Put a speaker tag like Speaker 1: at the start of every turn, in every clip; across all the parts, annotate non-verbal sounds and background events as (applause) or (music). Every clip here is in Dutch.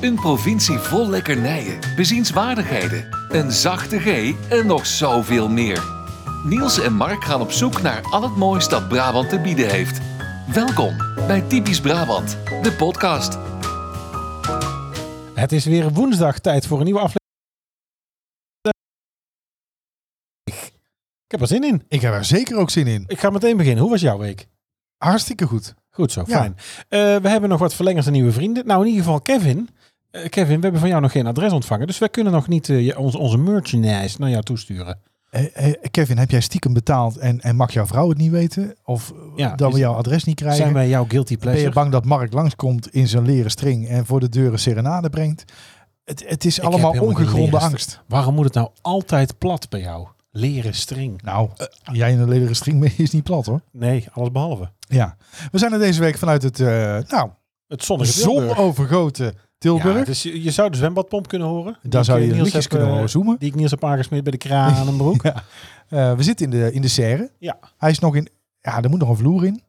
Speaker 1: Een provincie vol lekkernijen, bezienswaardigheden, een zachte G en nog zoveel meer. Niels en Mark gaan op zoek naar al het moois dat Brabant te bieden heeft. Welkom bij Typisch Brabant, de podcast.
Speaker 2: Het is weer woensdag tijd voor een nieuwe aflevering. Ik heb er zin in.
Speaker 3: Ik heb er zeker ook zin in.
Speaker 2: Ik ga meteen beginnen. Hoe was jouw week?
Speaker 3: Hartstikke goed.
Speaker 2: Goed zo,
Speaker 3: Ja.
Speaker 2: fijn. Eh, we hebben nog wat verlengers en nieuwe vrienden. Nou, in ieder geval Kevin. Eh, Kevin, we hebben van jou nog geen adres ontvangen. Dus wij kunnen nog niet eh, je- onze, onze merchandise naar jou toesturen.
Speaker 3: Eh, eh, Kevin, heb jij stiekem betaald en, en mag jouw vrouw het niet weten? Of eh,
Speaker 2: Ja,
Speaker 3: dat
Speaker 2: is-
Speaker 3: we jouw adres niet krijgen?
Speaker 2: Zijn wij jouw guilty
Speaker 3: ben je
Speaker 2: pleasure?
Speaker 3: bang dat Mark langskomt in zijn leren string en voor de deuren serenade brengt? Het, het is
Speaker 2: Ik
Speaker 3: allemaal
Speaker 2: heb helemaal geen
Speaker 3: ongegronde
Speaker 2: leren
Speaker 3: angst.
Speaker 2: Waarom moet het nou altijd plat bij jou? Leren string.
Speaker 3: Nou, eh, jij in een leren string mee is niet plat hoor.
Speaker 2: Nee, alles behalve.
Speaker 3: Ja. We zijn er deze week vanuit het eh nou,
Speaker 2: Het zonnige Tilburg.
Speaker 3: zonovergoten Tilburg.
Speaker 2: Ja, dus je, je zou de zwembadpomp kunnen horen. Die
Speaker 3: Daar zou
Speaker 2: ik,
Speaker 3: je
Speaker 2: eh, Niels
Speaker 3: liedjes
Speaker 2: heb,
Speaker 3: kunnen
Speaker 2: eh,
Speaker 3: horen zoomen.
Speaker 2: Die ik Niels heb aangesmeerd bij de kraan aan een broek.
Speaker 3: Ja. Eh, we zitten in de, in de serre.
Speaker 2: Ja.
Speaker 3: Hij is nog in... Ja, er moet nog een vloer in.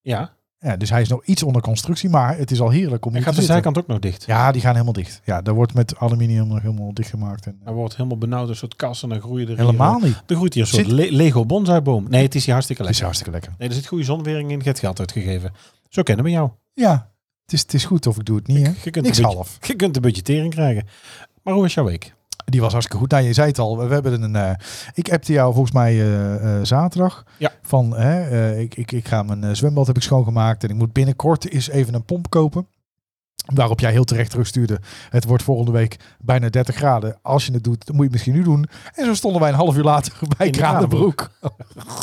Speaker 2: Ja,
Speaker 3: (laughs) Ja, dus hij is nog iets onder constructie, maar het is al heerlijk om
Speaker 2: en
Speaker 3: hier te
Speaker 2: gaat de
Speaker 3: zitten.
Speaker 2: zijkant ook nog dicht.
Speaker 3: Ja, die gaan helemaal dicht. Ja, daar wordt met aluminium nog helemaal dichtgemaakt. En,
Speaker 2: Hij wordt helemaal benauwd, een soort kas en dan groeien er Nou, hier- eh,
Speaker 3: helemaal niet.
Speaker 2: Er groeit hier een soort
Speaker 3: Zit-
Speaker 2: le- Lego bonsaiboom. Nee, het is hier hartstikke
Speaker 3: Het is
Speaker 2: lekker.
Speaker 3: hartstikke lekker.
Speaker 2: Nee, er zit goede zonwering in, je hebt geld uitgegeven. Zo kennen we jou.
Speaker 3: Ja, het is, het is goed of ik doe het niet. Hè?
Speaker 2: Je kunt,
Speaker 3: Niks
Speaker 2: een budget-
Speaker 3: half.
Speaker 2: je kunt een budgettering krijgen. Maar hoe is jouw week?
Speaker 3: Die was hartstikke goed. Nou, je zei het al. We hebben een. eh, ik appte jou volgens mij eh, eh, zaterdag.
Speaker 2: Ja.
Speaker 3: Van hè, eh, ik, ik, ik ga mijn eh, zwembad heb ik schoongemaakt. En ik moet binnenkort eens even een pomp kopen. Waarop jij heel terecht terugstuurde. Het wordt volgende week bijna 30 graden. Als je het doet, dan moet je het misschien nu doen. En zo stonden wij een half uur later (laughs) bij
Speaker 2: In de
Speaker 3: Kranenbroek. (laughs)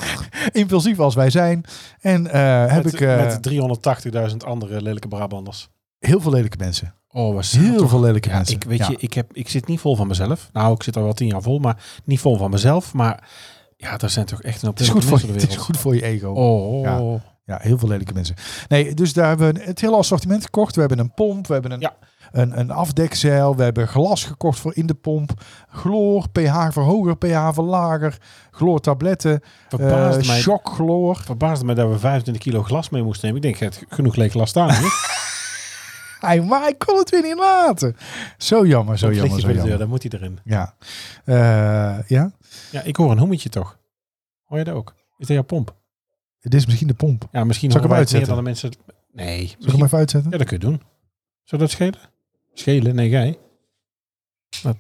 Speaker 3: Impulsief als wij zijn. En eh, heb
Speaker 2: met,
Speaker 3: ik eh,
Speaker 2: Met 380.000 andere lelijke Brabanders.
Speaker 3: heel veel lelijke mensen.
Speaker 2: Oh, was
Speaker 3: Heel veel lelijke
Speaker 2: Ja,
Speaker 3: mensen.
Speaker 2: ik weet
Speaker 3: Ja.
Speaker 2: je, ik, heb, ik zit niet vol van mezelf. Nou, ik zit al wel tien jaar vol, maar niet vol van mezelf. Maar ja, daar zijn toch echt een
Speaker 3: Het is, goed voor je,
Speaker 2: de
Speaker 3: het
Speaker 2: wereld.
Speaker 3: is goed voor je ego.
Speaker 2: Oh,
Speaker 3: Ja. Ja, heel veel lelijke mensen. Nee, dus daar hebben we het hele assortiment gekocht. We hebben een pomp, we hebben een,
Speaker 2: Ja.
Speaker 3: een, een afdekzeil, we hebben glas gekocht voor in de pomp. Chloor, pH verhoger, pH verlager, chloortabletten,
Speaker 2: verbaasd
Speaker 3: eh,
Speaker 2: mij.
Speaker 3: shockchloor.
Speaker 2: verbaasde mij dat we 25 kilo glas mee moesten nemen. Ik denk, je hebt genoeg leeg glas
Speaker 3: (laughs)
Speaker 2: staan. hè?
Speaker 3: Hey, maar ik kon het weer niet laten. Zo jammer, zo
Speaker 2: Dat
Speaker 3: jammer,
Speaker 2: lichtje bij de
Speaker 3: zo
Speaker 2: deur,
Speaker 3: jammer.
Speaker 2: dan moet hij erin.
Speaker 3: Ja. Eh, ja,
Speaker 2: Ja, ik hoor een hoemetje toch. Hoor je dat ook? Is dat jouw pomp?
Speaker 3: dit is misschien de pomp. Zal
Speaker 2: Ja, misschien
Speaker 3: Zal ik
Speaker 2: horen wij
Speaker 3: hem
Speaker 2: het meer
Speaker 3: uitzetten?
Speaker 2: dan de mensen... Nee.
Speaker 3: ik hem
Speaker 2: misschien-
Speaker 3: even uitzetten?
Speaker 2: Ja, dat kun je doen. Zou dat schelen? Schelen? Nee, jij. Dat-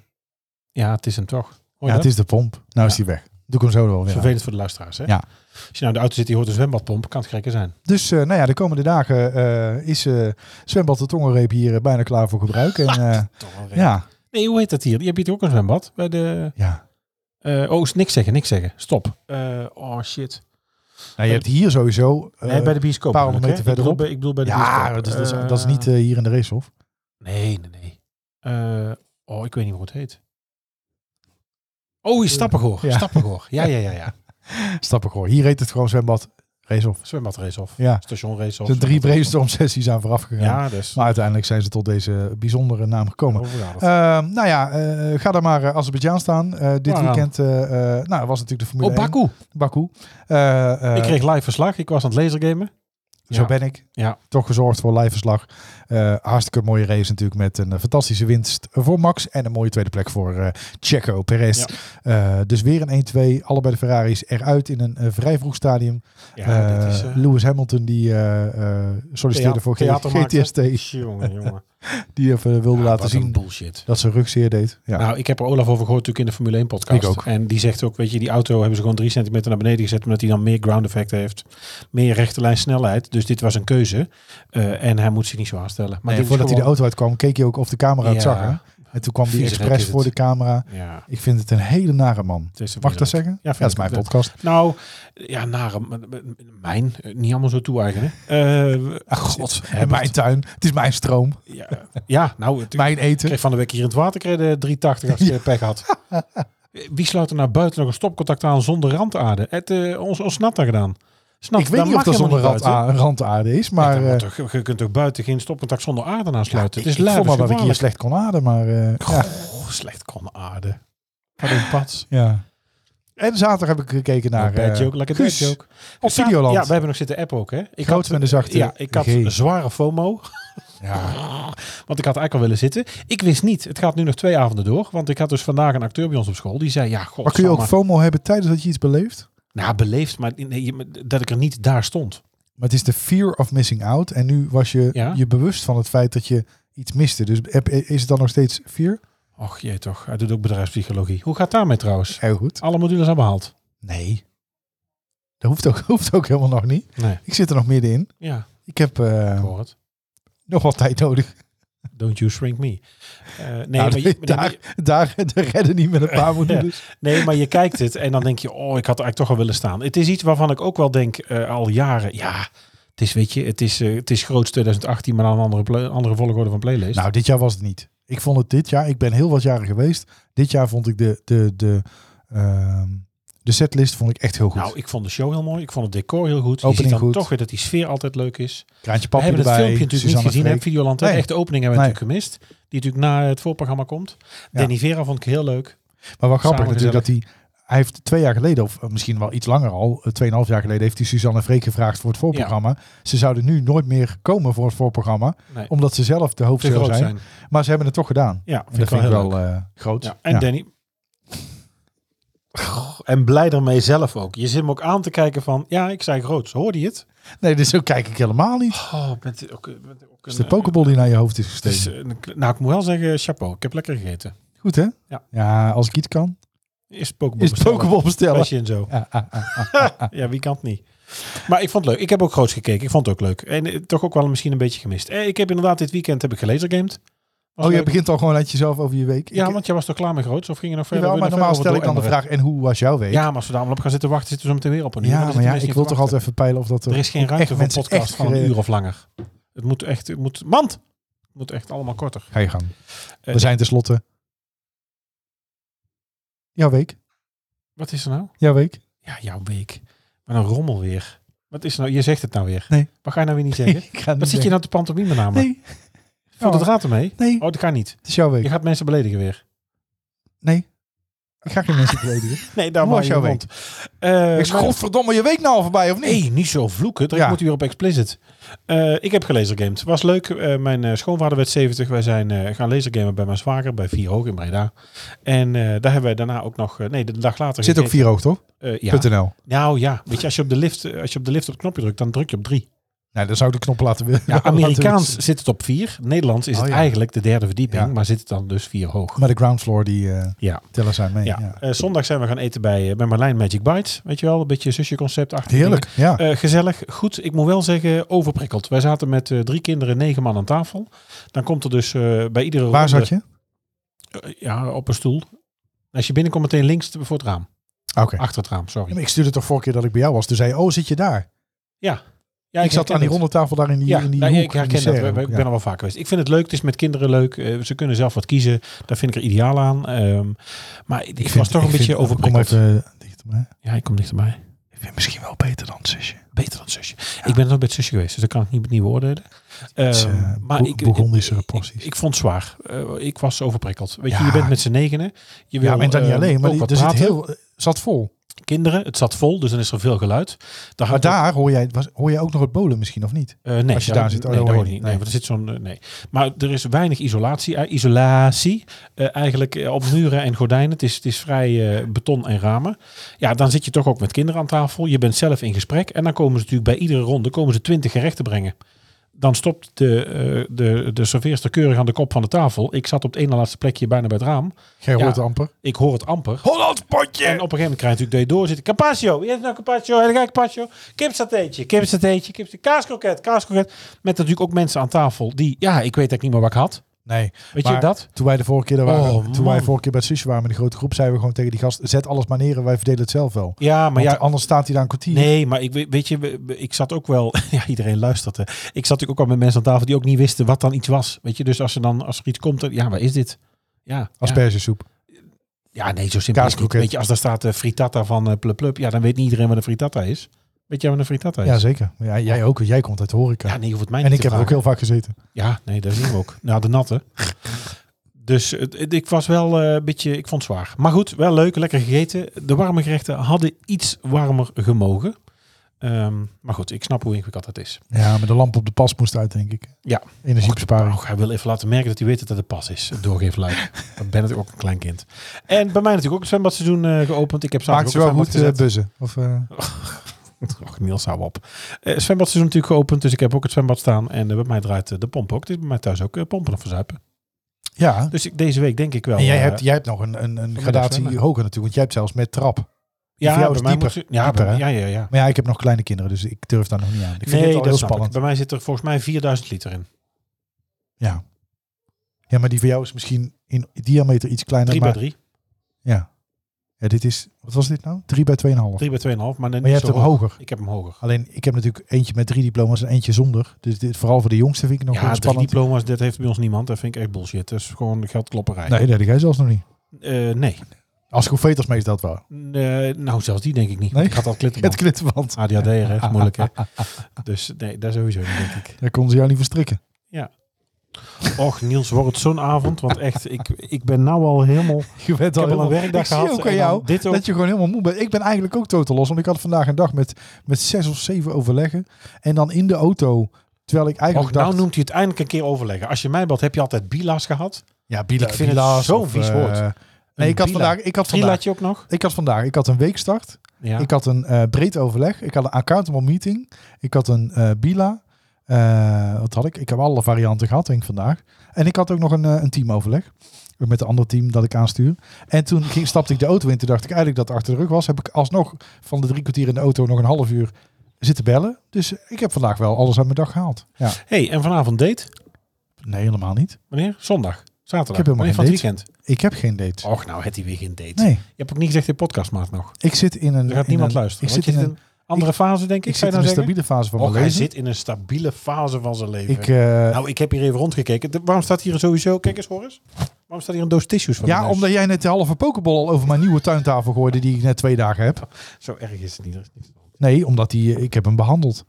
Speaker 2: Ja, het is hem toch. Hoor je
Speaker 3: Ja,
Speaker 2: dat?
Speaker 3: het is de pomp. Nou is die weg. Doe ik hem zo er wel weer aan.
Speaker 2: Vervelend voor de luisteraars, hè?
Speaker 3: Ja.
Speaker 2: Als je nou in de auto zit, die hoort een zwembadpomp, kan het gekker zijn.
Speaker 3: Dus eh, nou ja, de komende dagen eh, is eh, zwembad de Tongenreep hier eh, bijna klaar voor
Speaker 2: (laughs)
Speaker 3: gebruik. En, eh,
Speaker 2: ja.
Speaker 3: ja,
Speaker 2: Nee, hoe heet dat hier? Je hebt hier ook een zwembad? Bij de...
Speaker 3: ja.
Speaker 2: eh oh, niks zeggen, niks zeggen. Stop. Eh, oh, shit.
Speaker 3: Nou, je hebt hier sowieso... eh,
Speaker 2: nee, bij de bioscoop.
Speaker 3: een paar honderd
Speaker 2: bedoel ik,
Speaker 3: meter
Speaker 2: hè? Ik bedoel bij-
Speaker 3: verderop.
Speaker 2: Ik bedoel bij de
Speaker 3: ja,
Speaker 2: bioscoop.
Speaker 3: dat is, dat is,
Speaker 2: Eh,
Speaker 3: dat is niet eh, hier in de racehof.
Speaker 2: Nee, nee, nee. Eh, oh, ik weet niet hoe het heet. Oh, is Stappengoor.
Speaker 3: Eh, Ja.
Speaker 2: Stappengoor. Ja, ja, ja, ja.
Speaker 3: (laughs) Stappengooi. Hier heet het gewoon zwembad racehof.
Speaker 2: Zwembadrace of
Speaker 3: Ja.
Speaker 2: stationrace
Speaker 3: Er
Speaker 2: of.
Speaker 3: zijn drie
Speaker 2: zwembadrace
Speaker 3: brainstorm sessies aan vooraf
Speaker 2: of.
Speaker 3: gegaan.
Speaker 2: Ja, dus.
Speaker 3: Maar uiteindelijk zijn ze tot deze bijzondere naam gekomen.
Speaker 2: Overgaat het.
Speaker 3: Ehm, nou ja, eh, ga daar maar eh, Azerbeidzjan staan. Eh, dit
Speaker 2: Waaraan?
Speaker 3: weekend eh, eh, nou, was natuurlijk de Formule
Speaker 2: oh,
Speaker 3: 1.
Speaker 2: Nou, Baku.
Speaker 3: Baku. Eh, eh,
Speaker 2: ik kreeg live verslag. Ik was aan het lasergamen.
Speaker 3: Zo
Speaker 2: Ja.
Speaker 3: ben ik.
Speaker 2: Ja.
Speaker 3: Toch gezorgd voor lijfverslag. Eh hartstikke mooie race natuurlijk met een eh, fantastische winst voor Max. En een mooie tweede plek voor eh, Checo Perez.
Speaker 2: Ja.
Speaker 3: Eh, dus weer een 1-2. Allebei de Ferraris eruit in een eh, vrij vroeg stadium.
Speaker 2: Ja,
Speaker 3: Eh,
Speaker 2: dat is... eh,
Speaker 3: Lewis Hamilton die eh, eh, solliciteerde
Speaker 2: thea-
Speaker 3: voor G-
Speaker 2: theater maakte.
Speaker 3: GTST.
Speaker 2: Jongen, (laughs) jongen.
Speaker 3: Die even wilde
Speaker 2: Ja,
Speaker 3: laten
Speaker 2: wat een
Speaker 3: zien
Speaker 2: bullshit.
Speaker 3: dat zijn rug zeer deed. Ja.
Speaker 2: Nou, ik heb er Olaf over gehoord natuurlijk in de Formule 1 podcast.
Speaker 3: Ik ook.
Speaker 2: En die zegt ook, weet je, die auto hebben ze gewoon drie centimeter naar beneden gezet. Omdat hij dan meer ground effect heeft. Meer rechte lijn snelheid. Dus dit was een keuze. Eh, en hij moet zich niet zo aanstellen. Maar
Speaker 3: En
Speaker 2: dit is
Speaker 3: voordat hij de
Speaker 2: gewoon-
Speaker 3: auto uitkwam, keek je ook of de camera het
Speaker 2: Ja.
Speaker 3: zag. Hè? En toen kwam die
Speaker 2: Viezerik is
Speaker 3: expres
Speaker 2: het.
Speaker 3: voor de camera.
Speaker 2: Ja,
Speaker 3: Ik vind het een hele nare man.
Speaker 2: het is een
Speaker 3: Mag ik dat
Speaker 2: viezerik.
Speaker 3: zeggen?
Speaker 2: Ja, vind
Speaker 3: dat is
Speaker 2: ik
Speaker 3: mijn
Speaker 2: wel.
Speaker 3: podcast.
Speaker 2: Nou, ja, nare, m- m- m- mijn, eh, niet allemaal zo toe-eigenen. Eh,
Speaker 3: Ach, Ah, god. En
Speaker 2: Herbert.
Speaker 3: mijn tuin. Het is mijn stroom.
Speaker 2: ja, (laughs) ja, nou, het, ik
Speaker 3: Mijn eten.
Speaker 2: kreeg van de week hier in het water kreeg de 380 als je pech
Speaker 3: (laughs)
Speaker 2: had. Wie sluit er naar buiten nog een stopcontact aan zonder randaarde? Het, eh, ons, ons nat daar gedaan. Snap,
Speaker 3: Ik weet
Speaker 2: daar
Speaker 3: niet
Speaker 2: mag
Speaker 3: of dat
Speaker 2: helemaal
Speaker 3: zonder
Speaker 2: niet buiten.
Speaker 3: randa- randaarde is, maar...
Speaker 2: Ja, dan
Speaker 3: eh,
Speaker 2: moet toch- je kunt toch buiten geen stopcontact zonder aarde aansluiten.
Speaker 3: ik-
Speaker 2: het is
Speaker 3: ik
Speaker 2: lui,
Speaker 3: vond wel
Speaker 2: het
Speaker 3: dat
Speaker 2: is
Speaker 3: ik hier
Speaker 2: gevaarlijk.
Speaker 3: slecht kon ademen, maar... eh, ja.
Speaker 2: Goh, slecht kon aarde. Wat een pad.
Speaker 3: ja. En zaterdag heb ik gekeken naar...
Speaker 2: Bad
Speaker 3: eh,
Speaker 2: joke, lekker
Speaker 3: Guus
Speaker 2: bad joke.
Speaker 3: Op
Speaker 2: Za-
Speaker 3: Videoland.
Speaker 2: Ja, we hebben nog zitten app ook, hè? Ik
Speaker 3: Groot met een zachte
Speaker 2: ja, ik had
Speaker 3: G.
Speaker 2: zware FOMO.
Speaker 3: Ja.
Speaker 2: Want ik had eigenlijk al willen zitten. Ik wist niet. Het gaat nu nog twee avonden door. Want ik had dus vandaag een acteur bij ons op school. Die zei, ja, god.
Speaker 3: Maar kun je ook
Speaker 2: maar-
Speaker 3: FOMO hebben tijdens dat je iets beleeft?
Speaker 2: Nou, beleefd, maar nee, je- maar dat ik er niet daar stond.
Speaker 3: Maar het is de fear of missing out. En nu was je
Speaker 2: Ja.
Speaker 3: je bewust van het feit dat je iets miste. Dus heb- is het dan nog steeds fear?
Speaker 2: Och jee toch, hij doet ook bedrijfspsychologie. Hoe gaat daarmee trouwens?
Speaker 3: Heel goed.
Speaker 2: Alle modules aan behaald.
Speaker 3: Nee. Dat hoeft ook, (laughs) hoeft ook helemaal nog niet.
Speaker 2: Nee.
Speaker 3: Ik zit er nog middenin.
Speaker 2: Ja,
Speaker 3: Ik heb eh,
Speaker 2: ik hoor het.
Speaker 3: nog wat tijd nodig.
Speaker 2: Don't you shrink me. Eh, nee,
Speaker 3: Nou, (laughs)
Speaker 2: maar je, nee, maar je-
Speaker 3: daar, daar, (laughs) daar redden niet met een paar Dus- modules.
Speaker 2: nee, maar je kijkt het en dan denk je, oh, ik had eigenlijk toch al willen staan. Het is iets waarvan ik ook wel denk eh, al jaren, ja, het is, weet je, het is, eh, het is groots 2018, maar dan een andere, pla- andere volgorde van playlist.
Speaker 3: Nou, dit jaar was het niet. Ik vond het dit jaar. Ik ben heel wat jaren geweest. Dit jaar vond ik de, de, de, ehm, de setlist vond ik echt heel goed.
Speaker 2: Nou, ik vond de show heel mooi. Ik vond het decor heel goed. je
Speaker 3: Opening
Speaker 2: ziet dan
Speaker 3: goed.
Speaker 2: toch weer dat die sfeer altijd leuk is.
Speaker 3: Kraantje
Speaker 2: We
Speaker 3: papje
Speaker 2: hebben
Speaker 3: erbij.
Speaker 2: het filmpje natuurlijk
Speaker 3: Suzanne
Speaker 2: niet gezien, hè,
Speaker 3: Freek.
Speaker 2: Videoland. hè?
Speaker 3: Nee.
Speaker 2: Echt de opening hebben we
Speaker 3: Nee.
Speaker 2: natuurlijk gemist. Die natuurlijk na het voorprogramma komt.
Speaker 3: Ja.
Speaker 2: Danny Vera vond ik heel leuk.
Speaker 3: Maar wel grappig
Speaker 2: Samen
Speaker 3: natuurlijk dat hij... Hij heeft twee jaar geleden, of eh, misschien wel iets langer al, eh, tweeënhalf jaar geleden, heeft hij Suzanne Freek gevraagd voor het voorprogramma. Ze zouden nu nooit meer komen voor het voorprogramma,
Speaker 2: Nee,
Speaker 3: omdat ze zelf de
Speaker 2: te
Speaker 3: hoofdshow
Speaker 2: groot
Speaker 3: zijn.
Speaker 2: zijn.
Speaker 3: Maar ze hebben het toch gedaan.
Speaker 2: Ja,
Speaker 3: En dat vind ik wel eh, groot.
Speaker 2: Ja, en Danny. Goh, En blij ermee zelf ook. Je zit hem ook aan te kijken van, ja, ik zei groots. Hoorde je het?
Speaker 3: Nee, dus zo kijk ik helemaal niet.
Speaker 2: Oh, bent ook, bent ook
Speaker 3: Het is
Speaker 2: een-
Speaker 3: de pokeball die naar je hoofd is
Speaker 2: het is
Speaker 3: gestegen.
Speaker 2: een- nou, ik moet wel zeggen, chapeau. Ik heb lekker gegeten.
Speaker 3: Goed, hè?
Speaker 2: Ja.
Speaker 3: als ik iets kan,
Speaker 2: Is Pokeball
Speaker 3: is pokeball bestellen.
Speaker 2: en zo.
Speaker 3: Ja, ah, ah.
Speaker 2: Ja, wie kan het niet? Maar ik vond het leuk. Ik heb ook groots gekeken. Ik vond het ook leuk. En eh, toch ook wel misschien een beetje gemist. Eh, ik heb inderdaad dit weekend heb ik gelasergamed. Was
Speaker 3: Oh, je
Speaker 2: leuk.
Speaker 3: begint al gewoon uit jezelf over je week.
Speaker 2: Ja,
Speaker 3: Ik-
Speaker 2: want jij was toch klaar met groots? Of ging je nog verder?
Speaker 3: Jawel,
Speaker 2: Wil
Speaker 3: maar
Speaker 2: je nog
Speaker 3: normaal
Speaker 2: verder
Speaker 3: stel ik
Speaker 2: wat
Speaker 3: dan de
Speaker 2: dooremmeren?
Speaker 3: vraag, en hoe was jouw week?
Speaker 2: Ja, maar als we daar allemaal op gaan zitten wachten, zitten we zo meteen weer op een uur.
Speaker 3: Ja,
Speaker 2: Daar
Speaker 3: maar
Speaker 2: zitten
Speaker 3: ja,
Speaker 2: mensen
Speaker 3: ik
Speaker 2: niet
Speaker 3: wil toch
Speaker 2: te
Speaker 3: altijd even peilen of dat...
Speaker 2: wachten. Er is geen ruimte
Speaker 3: echt
Speaker 2: voor een
Speaker 3: mensen
Speaker 2: podcast
Speaker 3: echt
Speaker 2: van een
Speaker 3: gereden.
Speaker 2: uur of langer. Het moet echt... Het moet, mand! Het moet echt allemaal korter.
Speaker 3: Ga je gang.
Speaker 2: Eh,
Speaker 3: We zijn tenslotte... Jouw week?
Speaker 2: Wat is er nou?
Speaker 3: Jouw week?
Speaker 2: Ja, jouw week. Wat een rommel weer. Wat is er nou? Je zegt het nou weer.
Speaker 3: Nee.
Speaker 2: Wat ga je nou weer niet
Speaker 3: Ik (laughs)
Speaker 2: zeggen?
Speaker 3: ga
Speaker 2: Wat
Speaker 3: niet
Speaker 2: zit je
Speaker 3: zeggen.
Speaker 2: nou te pantomime namen?
Speaker 3: Nee,
Speaker 2: Voor de
Speaker 3: Oh.
Speaker 2: draad ermee?
Speaker 3: nee,
Speaker 2: Oh, dat kan niet.
Speaker 3: het is jouw
Speaker 2: Je
Speaker 3: week.
Speaker 2: gaat mensen beledigen weer.
Speaker 3: Nee. Ik ga geen mensen beledigen.
Speaker 2: Nee, daar
Speaker 3: Hoe
Speaker 2: was
Speaker 3: was
Speaker 2: jouw
Speaker 3: jouw
Speaker 2: mond. Eh,
Speaker 3: Ik zeg,
Speaker 2: maar-
Speaker 3: godverdomme, je week nou al voorbij, of niet?
Speaker 2: Nee, niet zo vloeken. Ik
Speaker 3: Ja.
Speaker 2: moet hier op explicit. Eh, ik heb gelasergamed. Was leuk. Eh, mijn eh, schoonvader werd 70. Wij zijn eh, gaan lasergamen bij mijn zwager bij Vier Hoog in Breda. En eh, daar hebben wij daarna ook nog... eh, nee, de dag later...
Speaker 3: Zit ook
Speaker 2: gegeten.
Speaker 3: vier hoog, toch?
Speaker 2: Eh, ja.
Speaker 3: .nl.
Speaker 2: Nou ja, weet je, als je, op de lift, eh, als je op de lift op het knopje drukt, dan druk je op drie.
Speaker 3: Nee, Nou, dan zou ik de knop (laughs) laten willen.
Speaker 2: Ja, Amerikaans zit het op vier. Nederlands is
Speaker 3: Oh
Speaker 2: het
Speaker 3: ja.
Speaker 2: eigenlijk de derde verdieping,
Speaker 3: Ja.
Speaker 2: maar zit het dan dus vier hoog.
Speaker 3: Maar de ground floor, die eh,
Speaker 2: Ja.
Speaker 3: tellen zijn mee.
Speaker 2: Ja.
Speaker 3: Ja.
Speaker 2: Eh, zondag zijn we gaan eten bij, eh, bij Marlijn Magic Bites. Weet je wel, een beetje zusjeconcept achter.
Speaker 3: Heerlijk, ja.
Speaker 2: Eh, gezellig, goed. Ik moet wel zeggen, overprikkeld. Wij zaten met eh, drie kinderen, negen man aan tafel. Dan komt er dus eh, bij iedere
Speaker 3: Waar
Speaker 2: ronde-
Speaker 3: zat je?
Speaker 2: Eh, ja, op een stoel. Als je binnenkomt, meteen links te- voor het raam.
Speaker 3: Oké.
Speaker 2: Achter het raam,
Speaker 3: Ja,
Speaker 2: sorry.
Speaker 3: maar ik stuurde toch vorige keer dat ik bij jou was. Toen zei je, oh, zit je daar?
Speaker 2: Ja,
Speaker 3: ik zat
Speaker 2: herken
Speaker 3: aan die
Speaker 2: het.
Speaker 3: ronde tafel daar in die,
Speaker 2: Ja,
Speaker 3: in die
Speaker 2: nou,
Speaker 3: hoek.
Speaker 2: ik
Speaker 3: in die
Speaker 2: herken dat.
Speaker 3: serre
Speaker 2: We- we- Ik
Speaker 3: hoek,
Speaker 2: ben er wel vaak geweest. Ik vind het leuk. Het is met kinderen leuk. Eh, ze kunnen zelf wat kiezen. Daar vind ik er ideaal aan. Ehm, maar ik,
Speaker 3: ja.
Speaker 2: was toch een
Speaker 3: Ik
Speaker 2: beetje
Speaker 3: vind- Kom
Speaker 2: overprikkeld.
Speaker 3: even eh, dichterbij.
Speaker 2: Ja, ik kom dichterbij.
Speaker 3: Ik vind misschien wel beter dan zusje.
Speaker 2: Beter dan zusje. Ik ben nooit bij het zusje geweest, dus dat kan ik niet, niet beoordelen.
Speaker 3: is,
Speaker 2: Ehm,
Speaker 3: eh, Bo- Bourgondische
Speaker 2: ik-
Speaker 3: porties.
Speaker 2: Ik, ik vond het zwaar. Eh, ik was overprikkeld. Weet je,
Speaker 3: Ja.
Speaker 2: je bent met z'n negenen. Je wil,
Speaker 3: ja, maar dan niet
Speaker 2: eh,
Speaker 3: alleen. Maar
Speaker 2: ook
Speaker 3: die,
Speaker 2: wat
Speaker 3: er zit
Speaker 2: praten.
Speaker 3: heel, eh, zat vol.
Speaker 2: Kinderen, het zat vol, dus dan is er veel geluid. Daar
Speaker 3: Maar
Speaker 2: hangt ook-
Speaker 3: daar hoor jij, was, hoor jij ook nog het bolen misschien, of niet?
Speaker 2: eh, nee,
Speaker 3: als je daar zit, oh,
Speaker 2: nee,
Speaker 3: dat
Speaker 2: daar hoor je
Speaker 3: hoor je
Speaker 2: niet.
Speaker 3: niet.
Speaker 2: Nee,
Speaker 3: Nee.
Speaker 2: want er zit zo'n... eh, nee. Maar er is weinig isolatie. eh, isolatie, eh, eigenlijk eh, op muren en gordijnen. Het is, het is vrij eh, beton en ramen. Ja, dan zit je toch ook met kinderen aan tafel. Je bent zelf in gesprek. En dan komen ze natuurlijk bij iedere ronde komen ze twintig gerechten brengen. Dan stopt de, eh de, de serveerster keurig aan de kop van de tafel. Ik zat op het ene laatste plekje bijna bij het raam.
Speaker 3: Geen
Speaker 2: Ja.
Speaker 3: hoort amper.
Speaker 2: Ik hoor het amper.
Speaker 3: Hollands potje!
Speaker 2: En op een gegeven moment krijg je natuurlijk dat je doorzitten. Carpaccio, wie heeft nou carpaccio? Hele gek carpaccio. Kipsateetje, kipsateetje, kipsateetje. Kaaskroket, kaaskroket. Met natuurlijk ook mensen aan tafel die, ja, ik weet eigenlijk niet meer wat ik had.
Speaker 3: Nee,
Speaker 2: Weet je
Speaker 3: Maar-
Speaker 2: dat?
Speaker 3: toen wij de vorige keer, daar
Speaker 2: Oh,
Speaker 3: waren, toen wij
Speaker 2: man.
Speaker 3: vorige keer bij het zusje waren met een grote groep, zeiden we gewoon tegen die gast, zet alles maar neer en wij verdelen het zelf wel.
Speaker 2: Ja, maar
Speaker 3: Want
Speaker 2: ja.
Speaker 3: anders staat hij daar een kwartier.
Speaker 2: Nee, maar ik weet, weet je, we- we- ik zat ook wel. (laughs) Ja, iedereen luistert. hè. Ik zat natuurlijk ook al met mensen aan tafel die ook niet wisten wat dan iets was. Weet je, dus als er dan als er iets komt, dan, ja, wat is dit? Ja, ja.
Speaker 3: Aspergesoep.
Speaker 2: ja, nee, zo simpel. is het niet.
Speaker 3: Kaaskroket.
Speaker 2: Weet je, als daar staat eh, frittata van eh Plup Plup, ja, dan weet niet iedereen wat een frittata is. Weet jij wat een frittata is?
Speaker 3: Ja, zeker. Maar Ja, jij ook. Jij komt uit de horeca.
Speaker 2: Ja, nee, je hoeft het mij
Speaker 3: en
Speaker 2: niet
Speaker 3: ik
Speaker 2: te
Speaker 3: heb er ook
Speaker 2: vragen.
Speaker 3: heel vaak gezeten.
Speaker 2: Ja, nee, dat zien we ook. Na de natte. Dus het- het- ik was wel eh, een beetje, ik vond het zwaar. Maar goed, wel leuk, lekker gegeten. De warme gerechten hadden iets warmer gemogen. Ehm, maar goed, ik snap hoe ingewikkeld dat is.
Speaker 3: Ja, maar de lamp op de pas moest uit, denk ik.
Speaker 2: Ja.
Speaker 3: Energiebesparing.
Speaker 2: Och, hij wil even laten merken dat hij weet dat het een pas is. Doorgeef
Speaker 3: (laughs)
Speaker 2: luik. Dan ben ik ook een klein kind. En bij mij natuurlijk ook het zwembadseizoen eh, geopend. Ik heb
Speaker 3: Maakt
Speaker 2: zaterdag
Speaker 3: ze
Speaker 2: ook
Speaker 3: wel
Speaker 2: een
Speaker 3: goed eh,
Speaker 2: zwembad
Speaker 3: buzzen? Of, eh,
Speaker 2: gezet. Och, Niels, hou op. Eh zwembadseizoen natuurlijk geopend, dus ik heb ook het zwembad staan. En eh, bij mij draait eh, de pomp ook. Het is bij mij thuis ook eh, pompen of verzuipen.
Speaker 3: ja.
Speaker 2: Dus ik, deze week denk ik wel.
Speaker 3: En jij
Speaker 2: eh,
Speaker 3: hebt, jij hebt nog een, een, een
Speaker 2: middag
Speaker 3: gradatie
Speaker 2: zwemmen.
Speaker 3: hoger natuurlijk, want jij hebt zelfs met trap.
Speaker 2: ja,
Speaker 3: voor jou
Speaker 2: bij
Speaker 3: is
Speaker 2: mij
Speaker 3: dieper.
Speaker 2: moet- ja,
Speaker 3: Dieper,
Speaker 2: bij-
Speaker 3: hè?
Speaker 2: ja, ja, ja.
Speaker 3: Maar ja, ik heb nog kleine kinderen, dus ik durf daar nog niet aan. Ik vind
Speaker 2: nee,
Speaker 3: het al
Speaker 2: dat
Speaker 3: heel
Speaker 2: snap ik.
Speaker 3: spannend.
Speaker 2: Bij mij zit er volgens mij 4000 liter in.
Speaker 3: Ja. ja, maar die voor jou is misschien in diameter iets kleiner.
Speaker 2: 3 bij
Speaker 3: maar,
Speaker 2: 3.
Speaker 3: Ja. ja, dit is, wat was dit nou? 3 bij 2,5. Maar
Speaker 2: 3 bij 2,5. Maar, maar
Speaker 3: je hebt hem hoger.
Speaker 2: Ik heb hem hoger.
Speaker 3: Alleen, ik heb natuurlijk eentje met drie diploma's en eentje zonder. Dus dit, vooral voor de jongste vind ik nog
Speaker 2: ja,
Speaker 3: heel
Speaker 2: drie
Speaker 3: spannend.
Speaker 2: diploma's, dat heeft bij ons niemand. Dat vind ik echt bullshit. Dat is gewoon geldklopperij.
Speaker 3: Nee, dat heb jij zelfs nog niet.
Speaker 2: Eh, nee.
Speaker 3: Als Goeveters meest dat wel.
Speaker 2: Nee, nou, zelfs die denk ik niet.
Speaker 3: Nee?
Speaker 2: Ik had al
Speaker 3: (laughs) Het
Speaker 2: klittenband.
Speaker 3: klittenband.
Speaker 2: ADHD, hè? Is moeilijk, hè? Dus nee, daar sowieso niet, denk ik.
Speaker 3: Daar kon ze jou niet verstrikken.
Speaker 2: Och, Niels, wordt het zo'n avond. Want echt, ik, ik ben nou al helemaal...
Speaker 3: Je
Speaker 2: (laughs) Ik heb
Speaker 3: bent
Speaker 2: al een
Speaker 3: helemaal-
Speaker 2: werkdag
Speaker 3: ik zie
Speaker 2: gehad.
Speaker 3: ook
Speaker 2: en
Speaker 3: aan
Speaker 2: dan
Speaker 3: jou
Speaker 2: Dit ook.
Speaker 3: dat je gewoon helemaal moe bent. Ik ben eigenlijk ook totaal los. Want ik had vandaag een dag met, met zes of zeven overleggen. En dan in de auto, terwijl ik eigenlijk
Speaker 2: Och,
Speaker 3: dacht...
Speaker 2: nou noemt hij het eindelijk een keer overleggen. Als je mij belt, heb je altijd bila's gehad.
Speaker 3: Ja, Bila,
Speaker 2: Ik vind het
Speaker 3: Bila's
Speaker 2: zo'n
Speaker 3: of,
Speaker 2: vies
Speaker 3: eh,
Speaker 2: woord.
Speaker 3: nee, ik had,
Speaker 2: Bila.
Speaker 3: vandaag, ik, had vandaag,
Speaker 2: Frilaatje ook nog?
Speaker 3: ik had vandaag ik had een weekstart.
Speaker 2: Ja.
Speaker 3: Ik had een eh, breed overleg. Ik had een accountable meeting. Ik had een eh, Bila. Eh, wat had ik? Ik heb alle varianten gehad, denk ik, vandaag. En ik had ook nog een, eh, een teamoverleg. Met een ander team dat ik aanstuur. En toen ging, stapte ik de auto in. Toen dacht ik eigenlijk dat het achter de rug was. Heb ik alsnog van de drie kwartier in de auto nog een half uur zitten bellen. Dus ik heb vandaag wel alles uit mijn dag gehaald. Ja.
Speaker 2: hey, en vanavond date?
Speaker 3: Nee, helemaal niet.
Speaker 2: Wanneer? Zondag? Zaterdag?
Speaker 3: Ik heb helemaal
Speaker 2: Wanneer van
Speaker 3: geen
Speaker 2: het weekend?
Speaker 3: Ik heb geen date.
Speaker 2: Och, nou, het die weer geen date.
Speaker 3: Nee,
Speaker 2: Je hebt ook niet gezegd in podcast maakt nog.
Speaker 3: ik zit in een...
Speaker 2: Er gaat
Speaker 3: in
Speaker 2: niemand
Speaker 3: een-
Speaker 2: luisteren.
Speaker 3: Ik
Speaker 2: want
Speaker 3: zit in
Speaker 2: je
Speaker 3: een
Speaker 2: andere fase, denk ik.
Speaker 3: Ik,
Speaker 2: zou je
Speaker 3: zit in een
Speaker 2: nou
Speaker 3: stabiele fase
Speaker 2: zeggen? Och,
Speaker 3: van mijn
Speaker 2: hij
Speaker 3: leven.
Speaker 2: zit in een stabiele fase van zijn leven.
Speaker 3: Ik, eh,
Speaker 2: nou, ik heb hier even rondgekeken. De- waarom staat hier sowieso... Kijk eens, Horus. Waarom staat hier een doos tissues van
Speaker 3: ja,
Speaker 2: mijn neus?
Speaker 3: omdat jij net de halve pokeball al over mijn nieuwe tuintafel gooide die ik net twee dagen heb.
Speaker 2: Zo erg is het niet. Er is niks aan de hand.
Speaker 3: Nee, omdat die, eh, ik heb hem behandeld.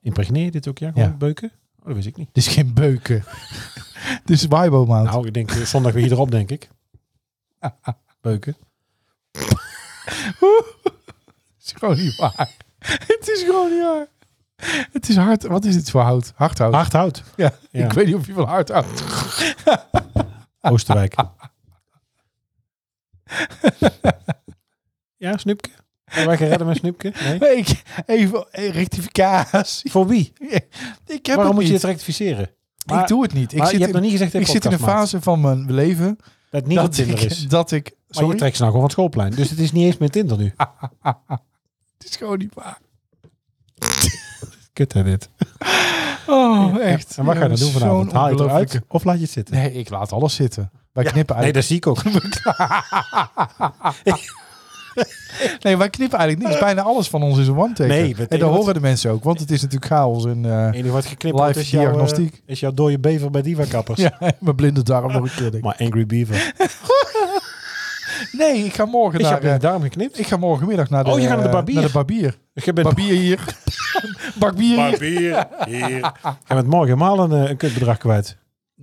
Speaker 2: Impregneer je dit ook, ja? Gewoon
Speaker 3: Ja.
Speaker 2: beuken? Oh, dat wist ik niet.
Speaker 3: Dit is geen beuken. (laughs) Dit is Weibo maand.
Speaker 2: Nou, ik denk eh, zondag weer hierop, denk
Speaker 3: (laughs)
Speaker 2: ik. Beuken. Nou.
Speaker 3: (laughs) het is gewoon niet waar. het is gewoon niet waar. Het is hard. Wat is dit voor hout? Hardhout.
Speaker 2: Hard hout.
Speaker 3: Ja,
Speaker 2: Ja.
Speaker 3: Ik weet niet of je van hard houdt. (laughs)
Speaker 2: Oosterwijk. ja, Snoepke? Zijn wij gaan redden met Snoepke? Nee.
Speaker 3: Nee, ik- even eh, rectificatie. (laughs)
Speaker 2: Voor wie?
Speaker 3: Ik heb
Speaker 2: Waarom
Speaker 3: het
Speaker 2: moet je
Speaker 3: niet.
Speaker 2: het rectificeren?
Speaker 3: ik
Speaker 2: Maar-
Speaker 3: doe het niet. Ik
Speaker 2: maar
Speaker 3: zit
Speaker 2: je hebt
Speaker 3: in,
Speaker 2: nog niet gezegd
Speaker 3: ik zit in een
Speaker 2: podcastmaat.
Speaker 3: fase van mijn leven
Speaker 2: Dat niet op
Speaker 3: dat
Speaker 2: Tinder is.
Speaker 3: ik, dat ik...
Speaker 2: Maar je
Speaker 3: Sorry? Ah.
Speaker 2: trekt ze nou gewoon van het schoolplein. Dus het is niet eens meer Tinder nu.
Speaker 3: Het is gewoon niet waar.
Speaker 2: Kut hè dit.
Speaker 3: Oh, echt.
Speaker 2: En wat ga je dan doen
Speaker 3: Zo'n
Speaker 2: vanavond? Haal je het
Speaker 3: ongelofelijke-
Speaker 2: eruit of laat je het zitten?
Speaker 3: Nee, ik laat alles zitten. Wij knippen
Speaker 2: Nee,
Speaker 3: eigenlijk,
Speaker 2: dat zie ik
Speaker 3: (laughs)
Speaker 2: ook.
Speaker 3: nee. wij knippen eigenlijk niks. Bijna alles van ons is een one-taker.
Speaker 2: Nee,
Speaker 3: en
Speaker 2: betekent
Speaker 3: dat
Speaker 2: dat-
Speaker 3: horen de mensen ook, want het is natuurlijk chaos. En, eh,
Speaker 2: Het enige wat geknipt wordt
Speaker 3: Live
Speaker 2: is jouw, eh,
Speaker 3: diagnostiek.
Speaker 2: is jouw dode bever bij diva-kappers.
Speaker 3: (laughs) ja, mijn blinde darm nog een keer. denk ik.
Speaker 2: Maar Angry Beaver.
Speaker 3: Nee, ik ga morgen
Speaker 2: Is jouw
Speaker 3: naar...
Speaker 2: blinde
Speaker 3: eh,
Speaker 2: darm geknipt?
Speaker 3: ik ga morgenmiddag naar de,
Speaker 2: Oh, je gaat naar de
Speaker 3: eh,
Speaker 2: barbier.
Speaker 3: Naar de barbier.
Speaker 2: Je bent,
Speaker 3: Barbier
Speaker 2: (laughs)
Speaker 3: hier. barbier hier.
Speaker 2: Barbier, hier. Je bent morgen helemaal een, eh, een kutbedrag kwijt.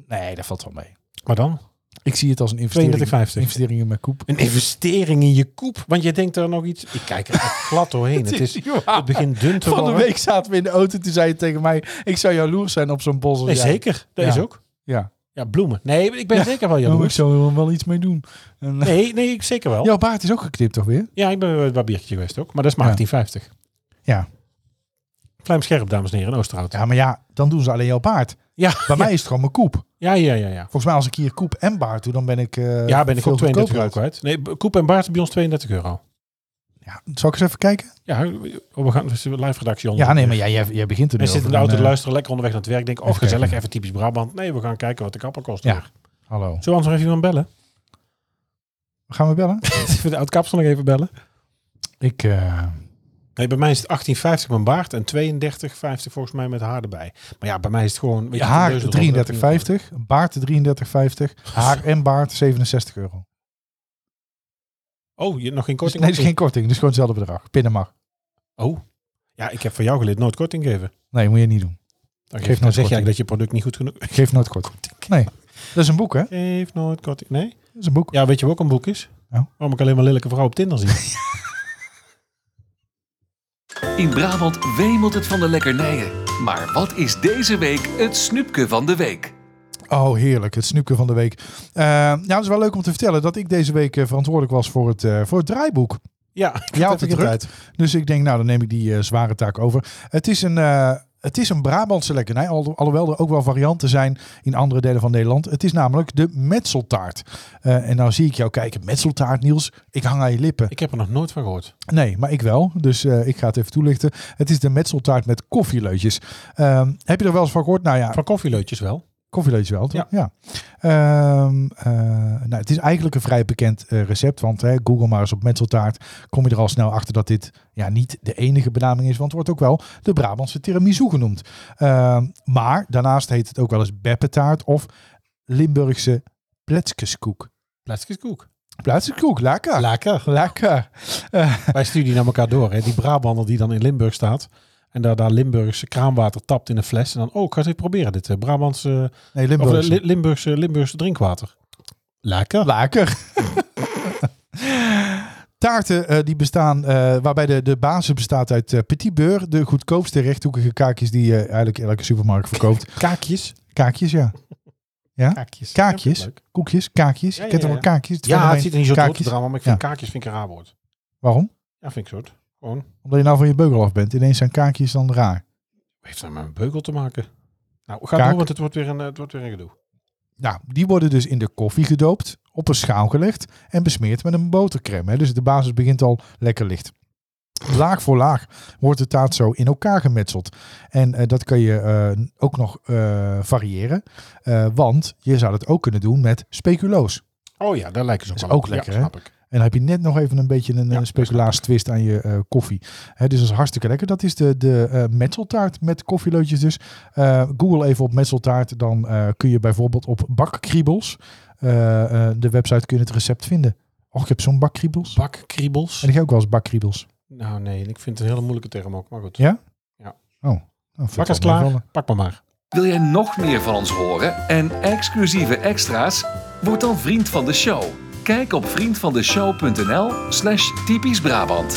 Speaker 3: Nee, dat valt wel mee.
Speaker 2: Maar dan?
Speaker 3: Ik zie het als een investering.
Speaker 2: 32,50.
Speaker 3: Investering in mijn koep.
Speaker 2: Een investering in je koep. Want je denkt er nog iets... Ik kijk er echt glad doorheen. Het, (laughs) is,
Speaker 3: (laughs) is niet waar.
Speaker 2: het begint dun te
Speaker 3: Van de
Speaker 2: worden.
Speaker 3: week zaten we in de auto. Toen zei je tegen mij, ik zou jaloers zijn op zo'n bos. als
Speaker 2: Nee,
Speaker 3: jij.
Speaker 2: zeker. Dat
Speaker 3: Ja.
Speaker 2: is ook.
Speaker 3: Ja.
Speaker 2: Ja, bloemen. Nee, ik ben zeker wel
Speaker 3: Oh, ik
Speaker 2: jaloers.
Speaker 3: zou er wel iets mee doen. En,
Speaker 2: Nee, nee, ik zeker wel.
Speaker 3: Jouw baard is ook geknipt, toch weer?
Speaker 2: Ja, ik ben bij het barbiertje geweest ook. Maar dat is maar 1850.
Speaker 3: Ja.
Speaker 2: Klein scherp, dames en heren, in Oosterhout.
Speaker 3: Ja, maar ja, dan doen ze alleen jouw baard.
Speaker 2: Ja,
Speaker 3: Bij mij is het gewoon mijn koep.
Speaker 2: ja, ja, ja. ja.
Speaker 3: Volgens mij als ik hier koep en baard doe, dan ben ik eh,
Speaker 2: Ja, ben ik
Speaker 3: veel
Speaker 2: ook 32 euro
Speaker 3: goedkoper.
Speaker 2: kwijt. Nee, b- koep en baard is bij ons 32 euro.
Speaker 3: Ja, zal ik eens even kijken?
Speaker 2: Ja, oh, we gaan dus de live redactie onder.
Speaker 3: Ja, nee, maar jij, jij, jij begint er nu
Speaker 2: En zit in
Speaker 3: over.
Speaker 2: de auto te
Speaker 3: En, eh,
Speaker 2: luisteren, lekker onderweg naar het werk. Denk, oh,
Speaker 3: even
Speaker 2: gezellig,
Speaker 3: kijken.
Speaker 2: even typisch Brabant. Nee, we gaan kijken wat de kapper kost.
Speaker 3: Ja.
Speaker 2: hier.
Speaker 3: Hallo.
Speaker 2: Zullen we anders nog even iemand bellen? (laughs)
Speaker 3: Gaan we bellen?
Speaker 2: Even de oud-kapsel nog even bellen?
Speaker 3: ik, eh,
Speaker 2: Nee, bij mij is het 18,50 mijn baard en 32,50 volgens mij met haar erbij. Maar ja, bij mij is het gewoon... weet je,
Speaker 3: haar
Speaker 2: 10.000 euro,
Speaker 3: 33,50. Baard 33,50. Haar en baard 67 euro.
Speaker 2: Oh, je hebt nog geen
Speaker 3: Dus,
Speaker 2: korting?
Speaker 3: nee, dus geen korting. Dus gewoon hetzelfde bedrag. Pinnen mag.
Speaker 2: Oh, ja, ik heb van jou geleerd nooit korting geven.
Speaker 3: Nee, moet je niet doen.
Speaker 2: Dan, geef, dan
Speaker 3: Geef nooit
Speaker 2: zeg je
Speaker 3: korting.
Speaker 2: eigenlijk dat je product niet goed genoeg...
Speaker 3: Ik geef nooit korting. Nee. Dat is een boek, hè?
Speaker 2: Geef nooit korting, nee?
Speaker 3: Dat is een boek.
Speaker 2: Ja, weet je wat ook een boek is? Oh,
Speaker 3: Nou? (laughs)
Speaker 2: Waarom ik alleen maar lelijke vrouwen op Tinder zie.
Speaker 1: In Brabant wemelt het van de lekkernijen. Maar wat is deze week het snoepje van de week?
Speaker 3: Oh, heerlijk. Het snoepje van de week. Eh, nou, het is wel leuk om te vertellen dat ik deze week eh, verantwoordelijk was voor het, eh, voor het draaiboek.
Speaker 2: (laughs) Ja, ik
Speaker 3: Ja,
Speaker 2: had
Speaker 3: had
Speaker 2: het
Speaker 3: ik
Speaker 2: druk.
Speaker 3: tijd. Dus ik denk, nou, dan neem ik die eh, zware taak over. Het is een, eh, het is een Brabantse lekkernij, al, alhoewel er ook wel varianten zijn in andere delen van Nederland. Het is namelijk de metseltaart. Eh, en nou zie ik jou kijken, metseltaart, Niels. Ik hang aan je lippen.
Speaker 2: Ik heb er nog nooit van gehoord.
Speaker 3: Nee, maar ik wel. Dus eh, ik ga het even toelichten. Het is de metseltaart met koffieleutjes. Ehm, heb je er wel eens van gehoord? Nou ja,
Speaker 2: Van koffieleutjes wel.
Speaker 3: Koffieleutjes wel, toch?
Speaker 2: Ja.
Speaker 3: Ja. Ehm, eh, nou, het is eigenlijk een vrij bekend eh, recept, want hè, Google maar eens op metseltaart. Kom je er al snel achter dat dit ja, niet de enige benaming is, want het wordt ook wel de Brabantse tiramisu genoemd. Ehm, maar daarnaast heet het ook wel eens beppetaart of Limburgse pletskoek.
Speaker 2: Plastic koek.
Speaker 3: Pletskoek, lekker.
Speaker 2: Lekker.
Speaker 3: lekker.
Speaker 2: Wij sturen die naar elkaar door. Hè. Die Brabander die dan in Limburg staat. En daar, daar Limburgse kraanwater tapt in een fles. En dan, oh, ik ga eens even proberen dit. eh, Brabantse,
Speaker 3: Nee,
Speaker 2: Of, eh,
Speaker 3: Limburgse.
Speaker 2: Li- Limburgse, Limburgse drinkwater. Lekker.
Speaker 3: Laker. (laughs) Taarten eh, die bestaan, eh, waarbij de, de basis bestaat uit eh, petit beurre, de goedkoopste rechthoekige kaakjes die eh, eigenlijk elke supermarkt
Speaker 2: (laughs)
Speaker 3: verkoopt.
Speaker 2: Kaakjes.
Speaker 3: Kaakjes, ja.
Speaker 2: Kaakjes.
Speaker 3: Kaakjes.
Speaker 2: Ja, vind ik leuk.
Speaker 3: Koekjes, kaakjes.
Speaker 2: Ja, ja,
Speaker 3: Je kent toch
Speaker 2: ja.
Speaker 3: wel kaakjes? Het
Speaker 2: Ja, het
Speaker 3: fenomeen
Speaker 2: ziet er niet zo door te
Speaker 3: kaakjes.
Speaker 2: drama, maar ik vind kaakjes vind ik een raar woord.
Speaker 3: Waarom?
Speaker 2: Ja, vind ik zo. Gewoon.
Speaker 3: Omdat je nou van je beugel af bent. Ineens zijn kaakjes dan raar.
Speaker 2: Heeft dat met een beugel te maken? Nou, ga
Speaker 3: Kaak.
Speaker 2: door, want het wordt weer een, eh, het wordt weer een gedoe.
Speaker 3: Nou, die worden dus in de koffie gedoopt, op een schaal gelegd en besmeerd met een botercrème. Hè. Dus de basis begint al lekker licht. Laag voor laag wordt de taart zo in elkaar gemetseld. En eh, dat kan je eh, ook nog eh, variëren. Eh, want je zou dat ook kunnen doen met speculoos.
Speaker 2: Oh ja, daar lijken ze ook
Speaker 3: Is
Speaker 2: wel
Speaker 3: ook
Speaker 2: op.
Speaker 3: lekker,
Speaker 2: ja,
Speaker 3: hè?
Speaker 2: snap ik.
Speaker 3: En dan heb je net nog even een beetje een, eh, speculaas twist aan je eh, koffie. Hè, dus dat is hartstikke lekker. Dat is de, de eh, metseltaart met koffieleutjes dus. Eh, Google even op metseltaart. Dan eh, kun je bijvoorbeeld op bakkriebels. eh, eh, de website kun je het recept vinden. Och, ik heb zo'n bakkriebels.
Speaker 2: Bakkriebels.
Speaker 3: En ik heb ook wel eens bakkriebels.
Speaker 2: Nou nee, ik vind het een hele moeilijke term ook, maar goed.
Speaker 3: Ja? Nou,
Speaker 2: Bak is klaar.
Speaker 3: eh,
Speaker 2: Pak maar maar.
Speaker 1: Wil jij nog meer van ons horen en exclusieve extra's? Word dan vriend van de show. Kijk op vriendvandeshow.nl slash typisch Brabant.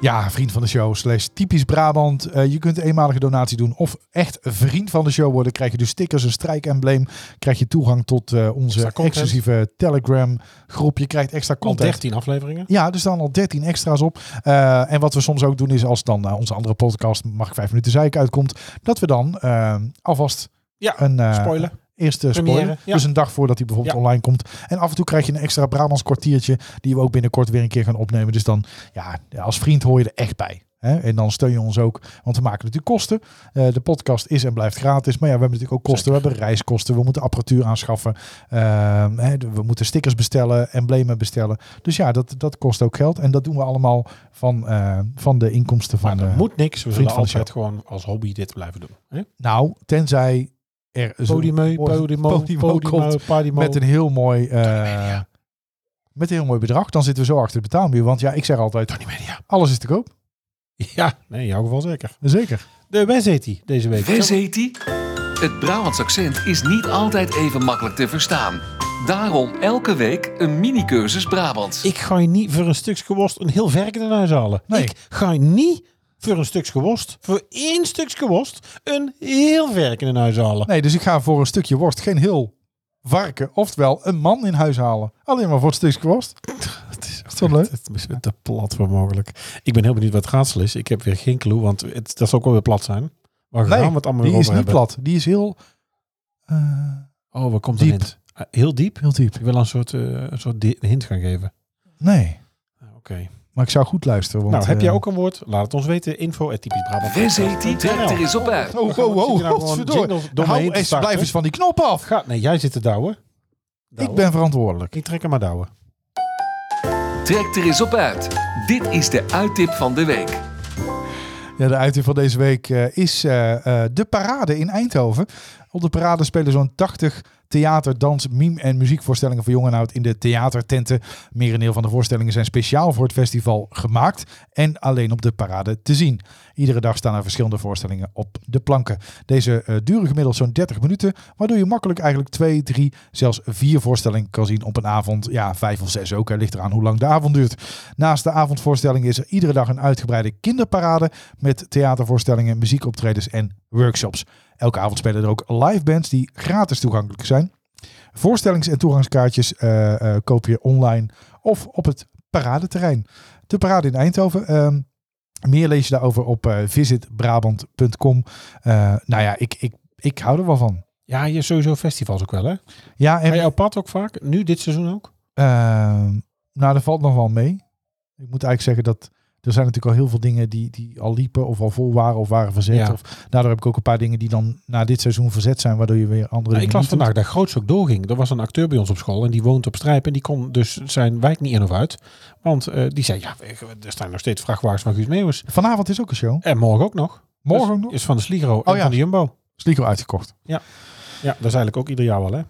Speaker 3: Ja, vriend van de show slash typisch Brabant. Eh, je kunt een eenmalige donatie doen of echt vriend van de show worden. Krijg je dus stickers, een strijkembleem. Krijg je toegang tot eh, onze
Speaker 2: Extra content.
Speaker 3: exclusieve Telegram groep. Je krijgt extra
Speaker 2: Al
Speaker 3: content.
Speaker 2: 13 afleveringen.
Speaker 3: Ja, er staan al 13 extra's op. Eh, en wat we soms ook doen is als dan eh, onze andere podcast Mag ik vijf minuten zeiken uitkomt. Dat we dan eh, alvast
Speaker 2: Ja,
Speaker 3: een eh,
Speaker 2: Spoiler.
Speaker 3: eerste
Speaker 2: Première,
Speaker 3: spoiler.
Speaker 2: ja.
Speaker 3: Dus een dag voordat hij bijvoorbeeld
Speaker 2: Ja.
Speaker 3: online komt. En af en toe krijg je een extra Brabants kwartiertje. Die we ook binnenkort weer een keer gaan opnemen. Dus dan, ja, als vriend hoor je er echt bij. Hè? En dan steun je ons ook. Want we maken natuurlijk kosten. Eh, de podcast is en blijft gratis. Maar ja, we hebben natuurlijk ook kosten. We hebben reiskosten. We moeten apparatuur aanschaffen. Ehm, hè, d- we moeten stickers bestellen. Emblemen bestellen. Dus ja, dat, dat kost ook geld. En dat doen we allemaal van, eh, van de inkomsten van...
Speaker 2: Maar dat
Speaker 3: eh,
Speaker 2: moet niks. We
Speaker 3: vriend
Speaker 2: zullen
Speaker 3: van de
Speaker 2: altijd gewoon als hobby dit blijven doen. Hè?
Speaker 3: nou, tenzij er zo'n
Speaker 2: Podimo,
Speaker 3: mooi-
Speaker 2: Podimo,
Speaker 3: (laughs) Podimo
Speaker 2: Podimo,
Speaker 3: komt
Speaker 2: Podimo.
Speaker 3: Met een heel mooi. eh, met een heel mooi bedrag. Dan zitten we zo achter de betaalmuur. Want ja, ik zeg altijd,
Speaker 2: Tony Media.
Speaker 3: alles is te koop.
Speaker 2: (laughs) Ja, nee, in jouw geval zeker.
Speaker 3: Zeker.
Speaker 2: De Wes heet hij deze week.
Speaker 1: Wes heet die? Het Brabants accent is niet altijd even makkelijk te verstaan. Daarom elke week een mini-cursus Brabants.
Speaker 2: Ik ga je niet voor een stukje worst een heel verk naar huis halen.
Speaker 3: Nee.
Speaker 2: Ik ga je niet voor een stukje worst, voor één stukje worst, een heel verk naar huis halen.
Speaker 3: (laughs) Nee, dus ik ga voor een stukje worst geen heel varken. Oftewel een man in huis halen. Alleen maar voor het stukje worst.
Speaker 2: Het is echt
Speaker 3: toch leuk?
Speaker 2: Het is te plat voor mogelijk. Ik ben heel benieuwd wat het raadsel is. Ik heb weer geen clue, want het, dat zal ook wel weer plat zijn. Maar we
Speaker 3: Nee,
Speaker 2: gaan we het allemaal
Speaker 3: Die
Speaker 2: weer
Speaker 3: is
Speaker 2: over
Speaker 3: niet
Speaker 2: hebben.
Speaker 3: plat. Die is heel. eh,
Speaker 2: Oh, waar komt
Speaker 3: Diep.
Speaker 2: de hint? Eh, heel diep?
Speaker 3: heel diep.
Speaker 2: Ik wil een soort, eh, een soort di- hint gaan geven. Ah,
Speaker 3: Nee.
Speaker 2: Oké.
Speaker 3: Maar ik zou goed luisteren. Want,
Speaker 2: Nou, heb
Speaker 3: eh,
Speaker 2: jij ook een woord? Laat het ons weten. Info at typisch Brabant.
Speaker 1: Wes heet die? Trek er eens op uit.
Speaker 3: Oh, wow, wow,
Speaker 2: nou
Speaker 3: godverdomme. Hou eens, blijf eens van die knop af.
Speaker 2: Gaat, nee, jij zit te douwen. Nou.
Speaker 3: Ik ben verantwoordelijk.
Speaker 2: Ik trek hem maar douwen.
Speaker 1: Trek er eens op uit. Dit is de uittip van de week.
Speaker 3: Ja, de uiting van deze week eh, is eh, eh, de parade in Eindhoven. Op de parade spelen zo'n 80 theater, dans, mime en muziekvoorstellingen voor jong en oud in de theatertenten. Merendeel van de voorstellingen zijn speciaal voor het festival gemaakt en alleen op de parade te zien. Iedere dag staan er verschillende voorstellingen op de planken. Deze eh, duren gemiddeld zo'n 30 minuten, waardoor je makkelijk eigenlijk twee, drie, zelfs vier voorstellingen kan zien op een avond. Ja, vijf of zes ook, hè, ligt eraan hoe lang de avond duurt. Naast de avondvoorstelling is er iedere dag een uitgebreide kinderparade met theatervoorstellingen, muziekoptredens en workshops. Elke avond spelen er ook live bands die gratis toegankelijk zijn. Voorstellings- en toegangskaartjes eh, eh, koop je online of op het paradeterrein. De parade in Eindhoven. ehm, meer lees je daarover op eh, visitbrabant.com. Eh, nou ja, ik, ik, ik hou er wel van.
Speaker 2: Ja, je hebt sowieso festivals ook wel, hè?
Speaker 3: Ja, en
Speaker 2: Ga je op pad ook vaak? Nu, dit seizoen ook?
Speaker 3: Ehm, nou, dat valt nog wel mee. Ik moet eigenlijk zeggen dat er zijn natuurlijk al heel veel dingen die, die al liepen of al vol waren of waren verzet.
Speaker 2: Ja.
Speaker 3: Of, daardoor heb ik ook een paar dingen die dan na dit seizoen verzet zijn, waardoor je weer andere
Speaker 2: Nou, ik
Speaker 3: dingen
Speaker 2: las
Speaker 3: niet doet.
Speaker 2: vandaag dat Groots ook doorging. Er was een acteur bij ons op school en die woont op Strijp. En die kon dus zijn wijk niet in of uit. Want eh, die zei, ja, er staan nog steeds vrachtwagens van Guus Meeuwis.
Speaker 3: Vanavond is ook een show.
Speaker 2: En morgen ook nog.
Speaker 3: Morgen
Speaker 2: Dus
Speaker 3: ook nog.
Speaker 2: Is van de Sligro en
Speaker 3: Oh ja.
Speaker 2: van de Jumbo.
Speaker 3: Sligo uitgekocht.
Speaker 2: Ja, dat is eigenlijk ook ieder jaar wel, hè?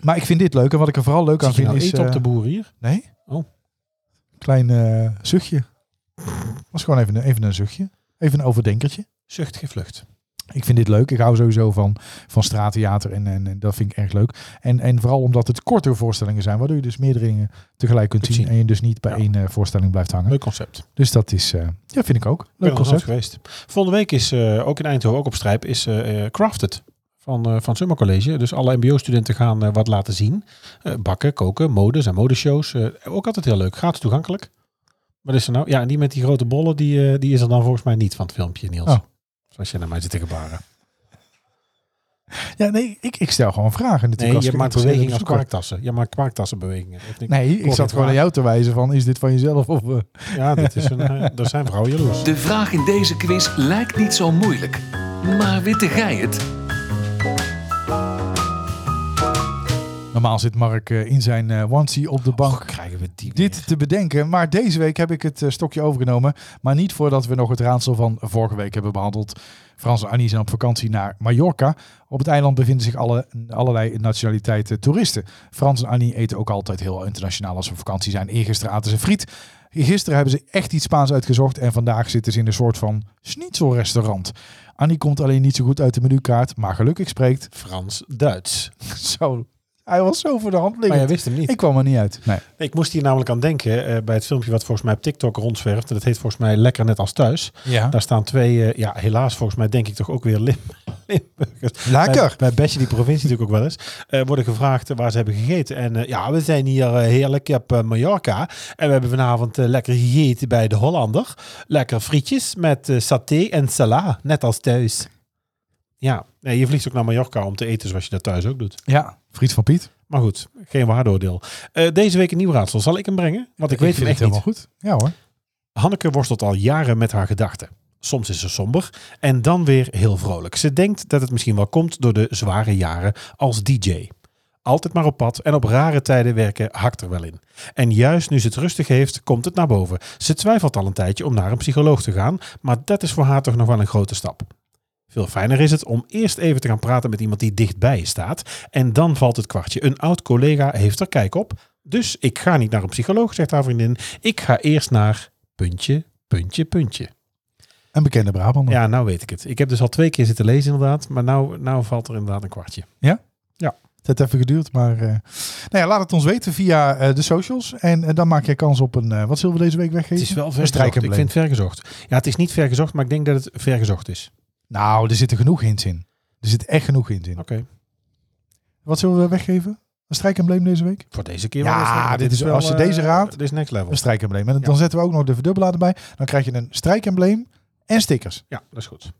Speaker 3: Maar ik vind dit leuk en wat ik er vooral leuk aan
Speaker 2: Zie je nou
Speaker 3: vind is...
Speaker 2: eten op
Speaker 3: eh,
Speaker 2: de boer hier?
Speaker 3: Nee.
Speaker 2: Oh.
Speaker 3: Klein eh, zuchtje. Was gewoon even, een- even een zuchtje. Even een overdenkertje.
Speaker 2: Zucht, geen vlucht.
Speaker 3: Ik vind dit leuk. Ik hou sowieso van, van straattheater en, en, en dat vind ik erg leuk. En, en vooral omdat het kortere voorstellingen zijn, waardoor je dus meerdere dingen tegelijk kunt
Speaker 2: Kunt
Speaker 3: zien.
Speaker 2: zien.
Speaker 3: En je dus niet bij
Speaker 2: Ja.
Speaker 3: één eh, voorstelling blijft hangen.
Speaker 2: Leuk concept.
Speaker 3: Dus dat is, eh, ja, vind ik ook.
Speaker 2: Ik
Speaker 3: Leuk
Speaker 2: ben er nog nooit
Speaker 3: concept.
Speaker 2: geweest. Volgende week is eh, ook in Eindhoven, ook op Strijp, is eh, eh, Crafted van, eh van Summer College. Dus alle mbo-studenten gaan eh, wat laten zien. Eh, bakken, koken, modes en modeshows. Eh, ook altijd heel leuk. Gratis toegankelijk. Wat is er nou? Ja, en die met die grote bollen, die, eh, die is er dan volgens mij niet van het filmpje, Niels.
Speaker 3: Oh.
Speaker 2: Zoals je naar mij zit te gebaren.
Speaker 3: Ja, nee, ik, ik stel gewoon vragen natuurlijk.
Speaker 2: Nee,
Speaker 3: als
Speaker 2: je
Speaker 3: ik
Speaker 2: maakt
Speaker 3: geïnteresseerde
Speaker 2: bewegingen als
Speaker 3: bezoeker.
Speaker 2: kwaaktassen. Je maakt kwaaktassenbewegingen. Of niet?
Speaker 3: Nee, ik
Speaker 2: Klopt,
Speaker 3: zat gewoon aan
Speaker 2: waar.
Speaker 3: jou te wijzen van, is dit van jezelf of... eh,
Speaker 2: Ja, dit is een, eh, (laughs) daar zijn vrouwen jaloers.
Speaker 1: De vraag in deze quiz lijkt niet zo moeilijk. Maar witte gij het?
Speaker 3: Normaal zit Mark eh, in zijn eh onesie op de bank.
Speaker 2: krijgen we die
Speaker 3: dit te bedenken. Maar deze week heb ik het eh, stokje overgenomen. Maar niet voordat we nog het raadsel van vorige week hebben behandeld. Frans en Annie zijn op vakantie naar Mallorca. Op het eiland bevinden zich alle, allerlei nationaliteiten toeristen. Frans en Annie eten ook altijd heel internationaal als ze op vakantie zijn. Eergisteren aten ze friet. Gisteren hebben ze echt iets Spaans uitgezocht. En vandaag zitten ze in een soort van schnitzelrestaurant. Annie komt alleen niet zo goed uit de menukaart. Maar gelukkig spreekt.
Speaker 2: Frans-Duits.
Speaker 3: (laughs) Zo, hij was zo voor de hand
Speaker 2: Maar jij
Speaker 3: liggend.
Speaker 2: wist hem niet.
Speaker 3: Ik kwam er niet uit. Nee.
Speaker 2: Ik moest hier namelijk aan denken eh, bij het filmpje wat volgens mij op TikTok rondzwerft. Dat heet volgens mij Lekker Net Als Thuis.
Speaker 3: Ja.
Speaker 2: Daar staan twee, eh, ja helaas volgens mij denk ik toch ook weer Lim (laughs) Limburgers.
Speaker 3: Lekker.
Speaker 2: Bij, bij Besje die provincie natuurlijk ook wel eens. eh, worden gevraagd eh, waar ze hebben gegeten. En eh, ja, we zijn hier eh, heerlijk op eh, Mallorca. En we hebben vanavond eh, lekker gegeten bij de Hollander. Lekker frietjes met eh, saté en sala. Net als thuis. Ja, nee, je vliegt ook naar Mallorca om te eten zoals je dat thuis ook doet.
Speaker 3: Ja. Friet van Piet.
Speaker 2: Maar goed, geen waardeoordeel. Eh, deze week een nieuw raadsel. Zal ik hem brengen? Want ik, weet hem
Speaker 3: vind
Speaker 2: echt
Speaker 3: het
Speaker 2: niet.
Speaker 3: helemaal goed. Ja hoor.
Speaker 2: Hanneke worstelt al jaren met haar gedachten. Soms is ze somber en dan weer heel vrolijk. Ze denkt dat het misschien wel komt door de zware jaren als DJ. Altijd maar op pad en op rare tijden werken hakt er wel in. En juist nu ze het rustig heeft, komt het naar boven. Ze twijfelt al een tijdje om naar een psycholoog te gaan, maar dat is voor haar toch nog wel een grote stap. Veel fijner is het om eerst even te gaan praten met iemand die dichtbij je staat. En dan valt het kwartje. Een oud collega heeft er kijk op. Dus ik ga niet naar een psycholoog, zegt haar vriendin. Ik ga eerst naar puntje, puntje, puntje.
Speaker 3: Een bekende Brabander.
Speaker 2: Ja, nou weet ik het. Ik heb dus al twee keer zitten lezen inderdaad, maar nou, nou valt er inderdaad een kwartje.
Speaker 3: Het heeft even geduurd, maar eh, nou ja, laat het ons weten via eh, de socials. En eh, dan maak je kans op een... eh, wat zullen we deze week weggeven?
Speaker 2: wel vergezocht.
Speaker 3: strijkembleem.
Speaker 2: Ik vind het vergezocht. Ja, het is niet vergezocht, maar ik denk dat het vergezocht is.
Speaker 3: Nou, er zitten genoeg hints in. Er zit echt genoeg hints in.
Speaker 2: Oké,
Speaker 3: Wat zullen we weggeven? Een strijkembleem deze week?
Speaker 2: voor deze keer
Speaker 3: Ja,
Speaker 2: wel eens, hè?
Speaker 3: dit is- als je
Speaker 2: eh,
Speaker 3: deze raadt-
Speaker 2: Dit is next level.
Speaker 3: Een strijkembleem. En dan zetten we ook nog de verdubbelaar erbij. Dan krijg je een strijkembleem en stickers.
Speaker 2: Ja, dat is goed.